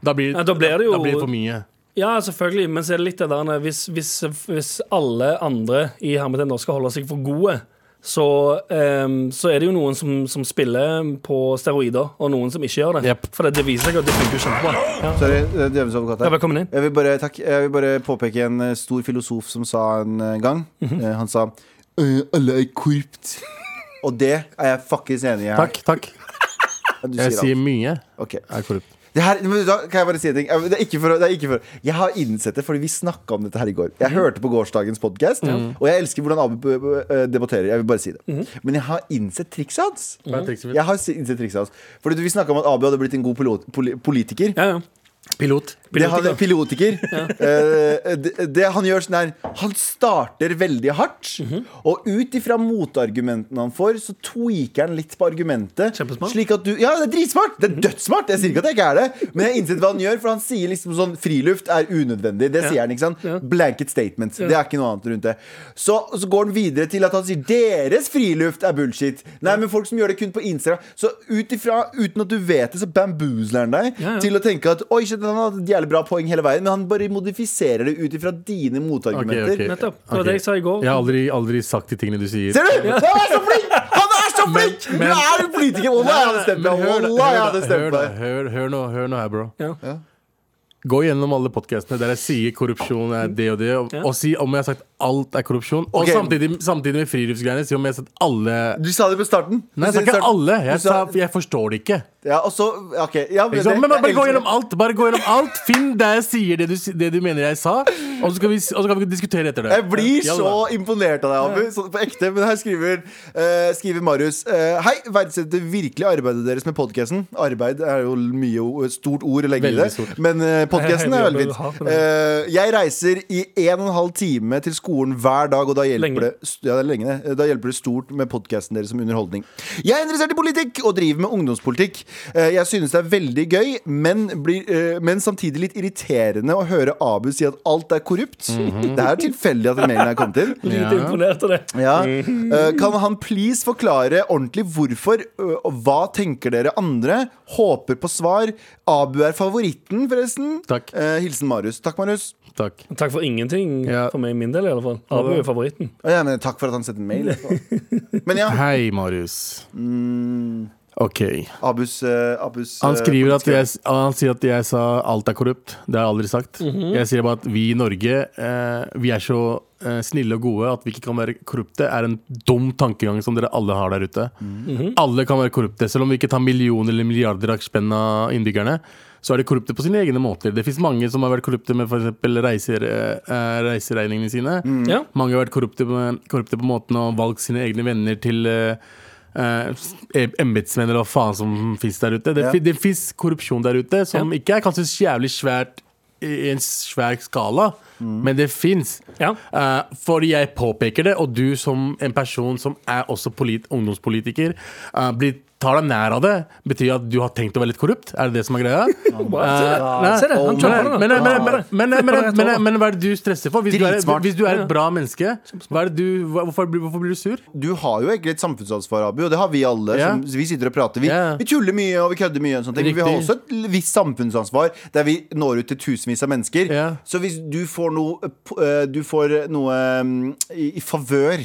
D: da blir,
C: Ja, da blir det jo-
D: for mye.
C: Ja, selvfølgelig, men så er det litt det der når- hvis, hvis, hvis alle andre i Hermetegn da skal holde seg for gode, så, ehm, så er det jo noen som, som spiller på steroider, og noen som ikke gjør det.
D: Jep.
C: For det, det viser seg at det funker jo kjempebra. Ja.
B: Sorry, eh, djevelens advokat
C: Ja,
B: her.
C: velkommen inn.
B: Jeg vil, bare, takk, jeg vil bare påpeke en eh, stor filosof som sa en eh, gang.
D: Mhm.
B: Eh, Han sa «Eh, 'alle er korrupt'. Og det er jeg fuckings enig i. her.
D: Takk, takk.
B: Du
D: Jeg
B: sier
D: sier
B: alt.
D: mye.
B: Ok.
D: Er korrupt.
B: Det her, men da kan jeg bare si en ting. Eh, Det er ikke for, å- det er ikke for. å- Jeg har innsett det fordi vi snakka om dette her i går.
D: Mhm.
B: Jeg hørte på gårsdagens podkast, og jeg elsker hvordan Abu eh, debatterer. Jeg vil bare si det. Men jeg har innsett trikset hans.
D: Mhm. Hva er trikset mitt?
B: Jeg har si- innsett trikset hans Fordi du- Vi snakka om at Abu hadde blitt en god pilot, poli, politiker.
C: Ja, ja.
D: Pilot.
B: Det han,
C: Pilotiker.
B: pilotiker. Eh, det, det han gjør sånn her Han starter veldig hardt, og ut ifra motargumentene han får, så tweaker han litt på argumentet.
C: Kjempesmart.
B: Slik at du, ja, det er dritsmart! Det er dødssmart! Jeg sier ikke at jeg ikke er det, men jeg har innsett hva han gjør, for han sier liksom sånn Friluft er unødvendig. Det sier han, ikke sant? Blanket statements. Det er ikke noe annet rundt det. Så, så går han videre til at han sier deres friluft er bullshit. Nei, men folk som gjør det kun på Instagram. Så ut ifra, uten at du vet det, så bamboozler han deg
C: Ja, ja.
B: til å tenke at Oi, shit, han hadde et jævlig bra poeng hele veien, men han bare modifiserer det ut ifra dine motargumenter.
D: Ok, ok.
C: Nettopp. Det var
D: Ok.
C: det jeg sa i går.
D: Jeg har aldri, aldri sagt de tingene du sier.
B: Ser du? Han er så flink! Han er så flink!
D: men-
B: du er jo politiker! Wallah, jeg hadde stemt
D: Men
B: deg.
D: hør, da,
B: Wallah, jeg
D: hør,
B: hadde
D: da, hør,
B: stemt
D: da,
B: deg.
D: hør, hør, nå, hør nå her, bro.
C: Ja.
D: Gå gjennom alle podcastene der jeg sier korrupsjon er det og det, og, og si om jeg har sagt alt er korrupsjon. Og
B: Ok.
D: samtidig, samtidig med friluftsgreiene, si om jeg har sagt alle
B: Du sa det på starten. Du
D: Nei, jeg
B: sier det
D: sa
B: på
D: ikke
B: starten.
D: alle.
B: Du
D: Jeg, sa,
B: sa-
D: jeg forstår det ikke.
B: Ja, og så OK. Ja,
D: ikke sant? Men bare
B: jeg
D: gå
B: elsker-
D: gjennom alt. Bare gå gjennom alt Finn der jeg sier det du, si- det du mener jeg sa, og så skal vi, s- og så kan vi diskutere etter det.
B: Jeg blir
D: Ja,
B: så
D: da.
B: imponert av deg, Abu. Sånn på ekte. Men her skriver, eh, skriver Marius eh, Hei, verdsetter virkelig arbeidet deres med podkasten. Arbeid er jo mye o- et stort ord å legge i
D: Veldig
B: det,
D: stort.
B: men uh, podkasten
C: Hei,
B: er
C: hei,
B: veldig
C: jeg har
B: fint.
C: for det.
B: Eh, jeg reiser i en og en halv time til skolen hver dag, og da hjelper
C: Lenge.
B: det ja, det er lenge, det. Da hjelper det stort med podkasten deres som underholdning. Jeg er interessert i politikk og driver med ungdomspolitikk. Eh, Jeg synes det er veldig gøy, men, blir, eh, men samtidig litt irriterende å høre Abu si at alt er korrupt. Det er tilfeldig at den mailen her kom til.
C: Lite
D: Mhm. Ja. Mhm.
C: imponert av det.
B: Ja. Eh, Kan han please forklare ordentlig hvorfor, ø, og hva tenker dere andre? Håper på svar. Abu er favoritten, forresten.
D: Takk.
B: Eh, Hilsen Marius. Takk, Marius.
D: Takk.
C: Takk for ingenting,
D: Ja.
C: for meg min del i alle fall. Abu er favoritten.
B: Å, Ja, men takk for at han sendte mail. etterpå. Men ja,
D: Hei, Marius.
B: Mm.
D: OK.
B: Abus, eh, Abus
D: Han
B: eh,
D: skriver at jeg, han sier at jeg sa alt er korrupt. Det har jeg aldri sagt. Jeg sier bare at vi i Norge eh, Vi er så eh, snille og gode at vi ikke kan være korrupte. er en dum tankegang som dere alle har der ute. Alle kan være korrupte. Selv om vi ikke tar millioner eller milliarder av spenn av innbyggerne, så er de korrupte på sine egne måter. Det fins mange som har vært korrupte med f.eks. Reiser, eh, reiseregningene sine.
C: Ja.
D: Mange har vært korrupte på, korrupte på måten og valgt sine egne venner til eh, eh, em- embetsmenn eller hva faen som fins der ute. Det,
B: Ja.
D: fi- det fins korrupsjon der ute som ikke er kanskje så jævlig svært i en svær skala, men det fins.
C: Ja.
D: fordi jeg påpeker det, og du som en person som er også polit, ungdomspolitiker, eh, blir, tar deg nær av det, betyr at du har tenkt å være litt korrupt? Er det det som er greia? Eh, nei.
C: Se det, han
D: Men-
C: topper
D: men-
C: det.
D: men- men- men- men- men- men- men- Men hva er det du stresser for? Hvis du er,
B: Dritsmart.
D: hvis du er et bra menneske, hva er det du, hva- hvorfor, blir- hvorfor blir du sur?
B: Du har jo egentlig et samfunnsansvar, Abu, og det har vi alle.
D: Ja.
B: Som, vi sitter og prater. Vi,
D: Ja.
B: vi tuller mye og vi kødder mye, og sånne ting, men vi har også
D: Riktig.
B: et l- visst samfunnsansvar der vi når ut til tusenvis av mennesker.
D: Ja.
B: Så hvis du får noe, eh, p- eh, du får noe mm, i, i favør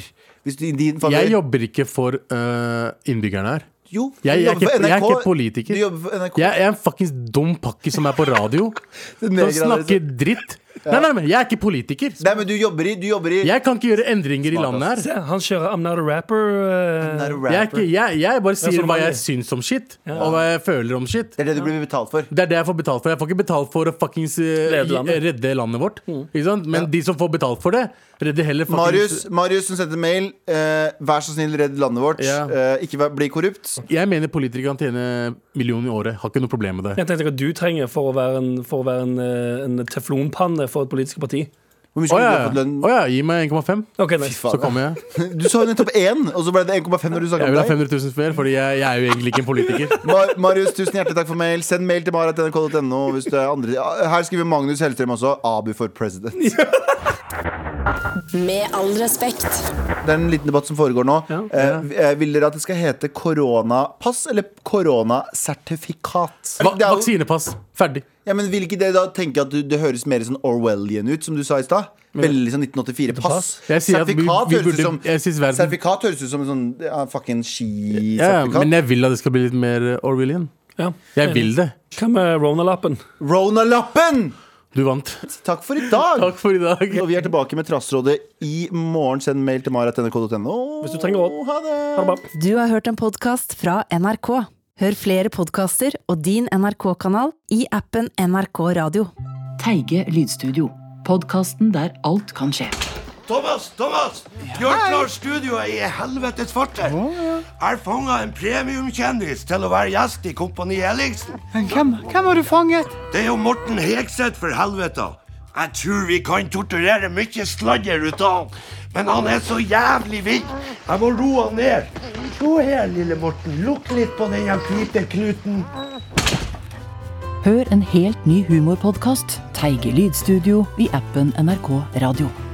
B: hvis du, i din favør
D: Jeg jobber ikke for øh, innbyggerne her.
B: Jo, du
D: Jeg- jeg er
B: jobber for
D: ikke- jeg er
B: NRK.
D: ikke politiker.
B: Du jobber for NRK.
D: Jeg er en fuckings dum pakke som er på radio.
B: Det er
D: Som
B: nedgradert.
D: snakker dritt. Nei, nei, men jeg er ikke politiker.
B: Nei, men du jobber i, du jobber i
D: Jeg kan ikke gjøre endringer i
B: Smart,
D: landet her.
C: Se, han kjører I'm not a rapper. eh,
B: Er du
D: Jeg, er
B: rapper?
D: ikke, jeg, jeg bare
C: sånn
D: sier hva
C: vanlig.
D: jeg syns om shit, og hva jeg føler om shit.
B: Det er det du blir betalt for.
D: Det er det jeg får betalt for. Jeg får ikke betalt for å fuckings eh,
C: Lede landet.
D: redde landet vårt. Ikke sant? Men de som får betalt for det, redder heller fuckings
B: Mm. Marius, Marius som sendte mail. eh, vær så snill, redd landet vårt.
D: Ja.
B: Eh, ikke vær, bli korrupt.
D: Jeg mener politikere kan tjene millioner i året. Har ikke noe problem med det.
C: Jeg tenkte hva du trenger for å være en, for å være en, eh, en teflonpanne for et politisk parti.
B: Hvor mye
D: Å
B: skulle
D: ja.
B: du ha fått lønn?
D: Å ja, gi meg 1,5,
C: Ok, nei.
B: faen.
D: så kommer jeg.
B: Du sa jo nettopp én, og så ble det 1,5 når du snakket
D: Jeg vil ha
B: om deg.
D: 500 000 flere, fordi jeg, jeg er jo egentlig ikke en politiker.
B: Mar Marius, tusen hjertelig takk for mail. Send mail til mara.nrk.no hvis det er andre Her skriver Magnus Hellstrøm også. Abu for president.
A: Med all respekt.
B: Det er en liten debatt som foregår nå.
C: Ja.
B: Eh, vi- eh, vil dere at det skal hete koronapass eller koronasertifikat?
D: Va
B: Det er jo-
D: vaksinepass. Ferdig.
B: Ja, men Vil ikke det da tenke at du, det høres mer sånn Orwellian ut, som du sa i stad? Veldig sånn 1984-pass.
D: Jeg sier at vi-
B: Sertifikat
D: vi
B: høres ut
D: burde-
B: som
D: jeg synes verden-
B: Sertifikat høres ut som en sånn ja, fucking
D: Ja,
B: skisertifikat.
D: men jeg vil at det skal bli litt mer eh, Orwellian.
C: Ja.
D: Jeg vil det.
C: Hva med Rona-lappen?
B: Rona-lappen!
D: Du vant.
B: Takk for i dag!
D: Takk for i dag.
B: Og vi er tilbake med Trassrådet i morgen. Send mail til marat.nrk.no.
C: Hvis du trenger råd.
B: Ha det!
C: Ha det bra.
E: Du har hørt en podkast fra NRK. Hør flere podkaster og din NRK-kanal i appen NRK Radio.
F: Teige lydstudio. Podkasten der alt kan skje.
G: Thomas, Thomas! Gjør klar studioet i helvetes farter. Jeg fanga en premiumkjendis til å være gjest i Kompani Ellingsen.
H: Men hvem, hvem har du fanget?
G: Det er jo Morten Hegseth, for helvete. Jeg tror vi kan torturere mye sladder ut av han. Men han er så jævlig vill. Jeg må roe han ned. Se her, lille Morten. Lukk litt på den her piteknuten.
F: Hør en helt ny humorpodkast, Teige lydstudio, i appen NRK Radio.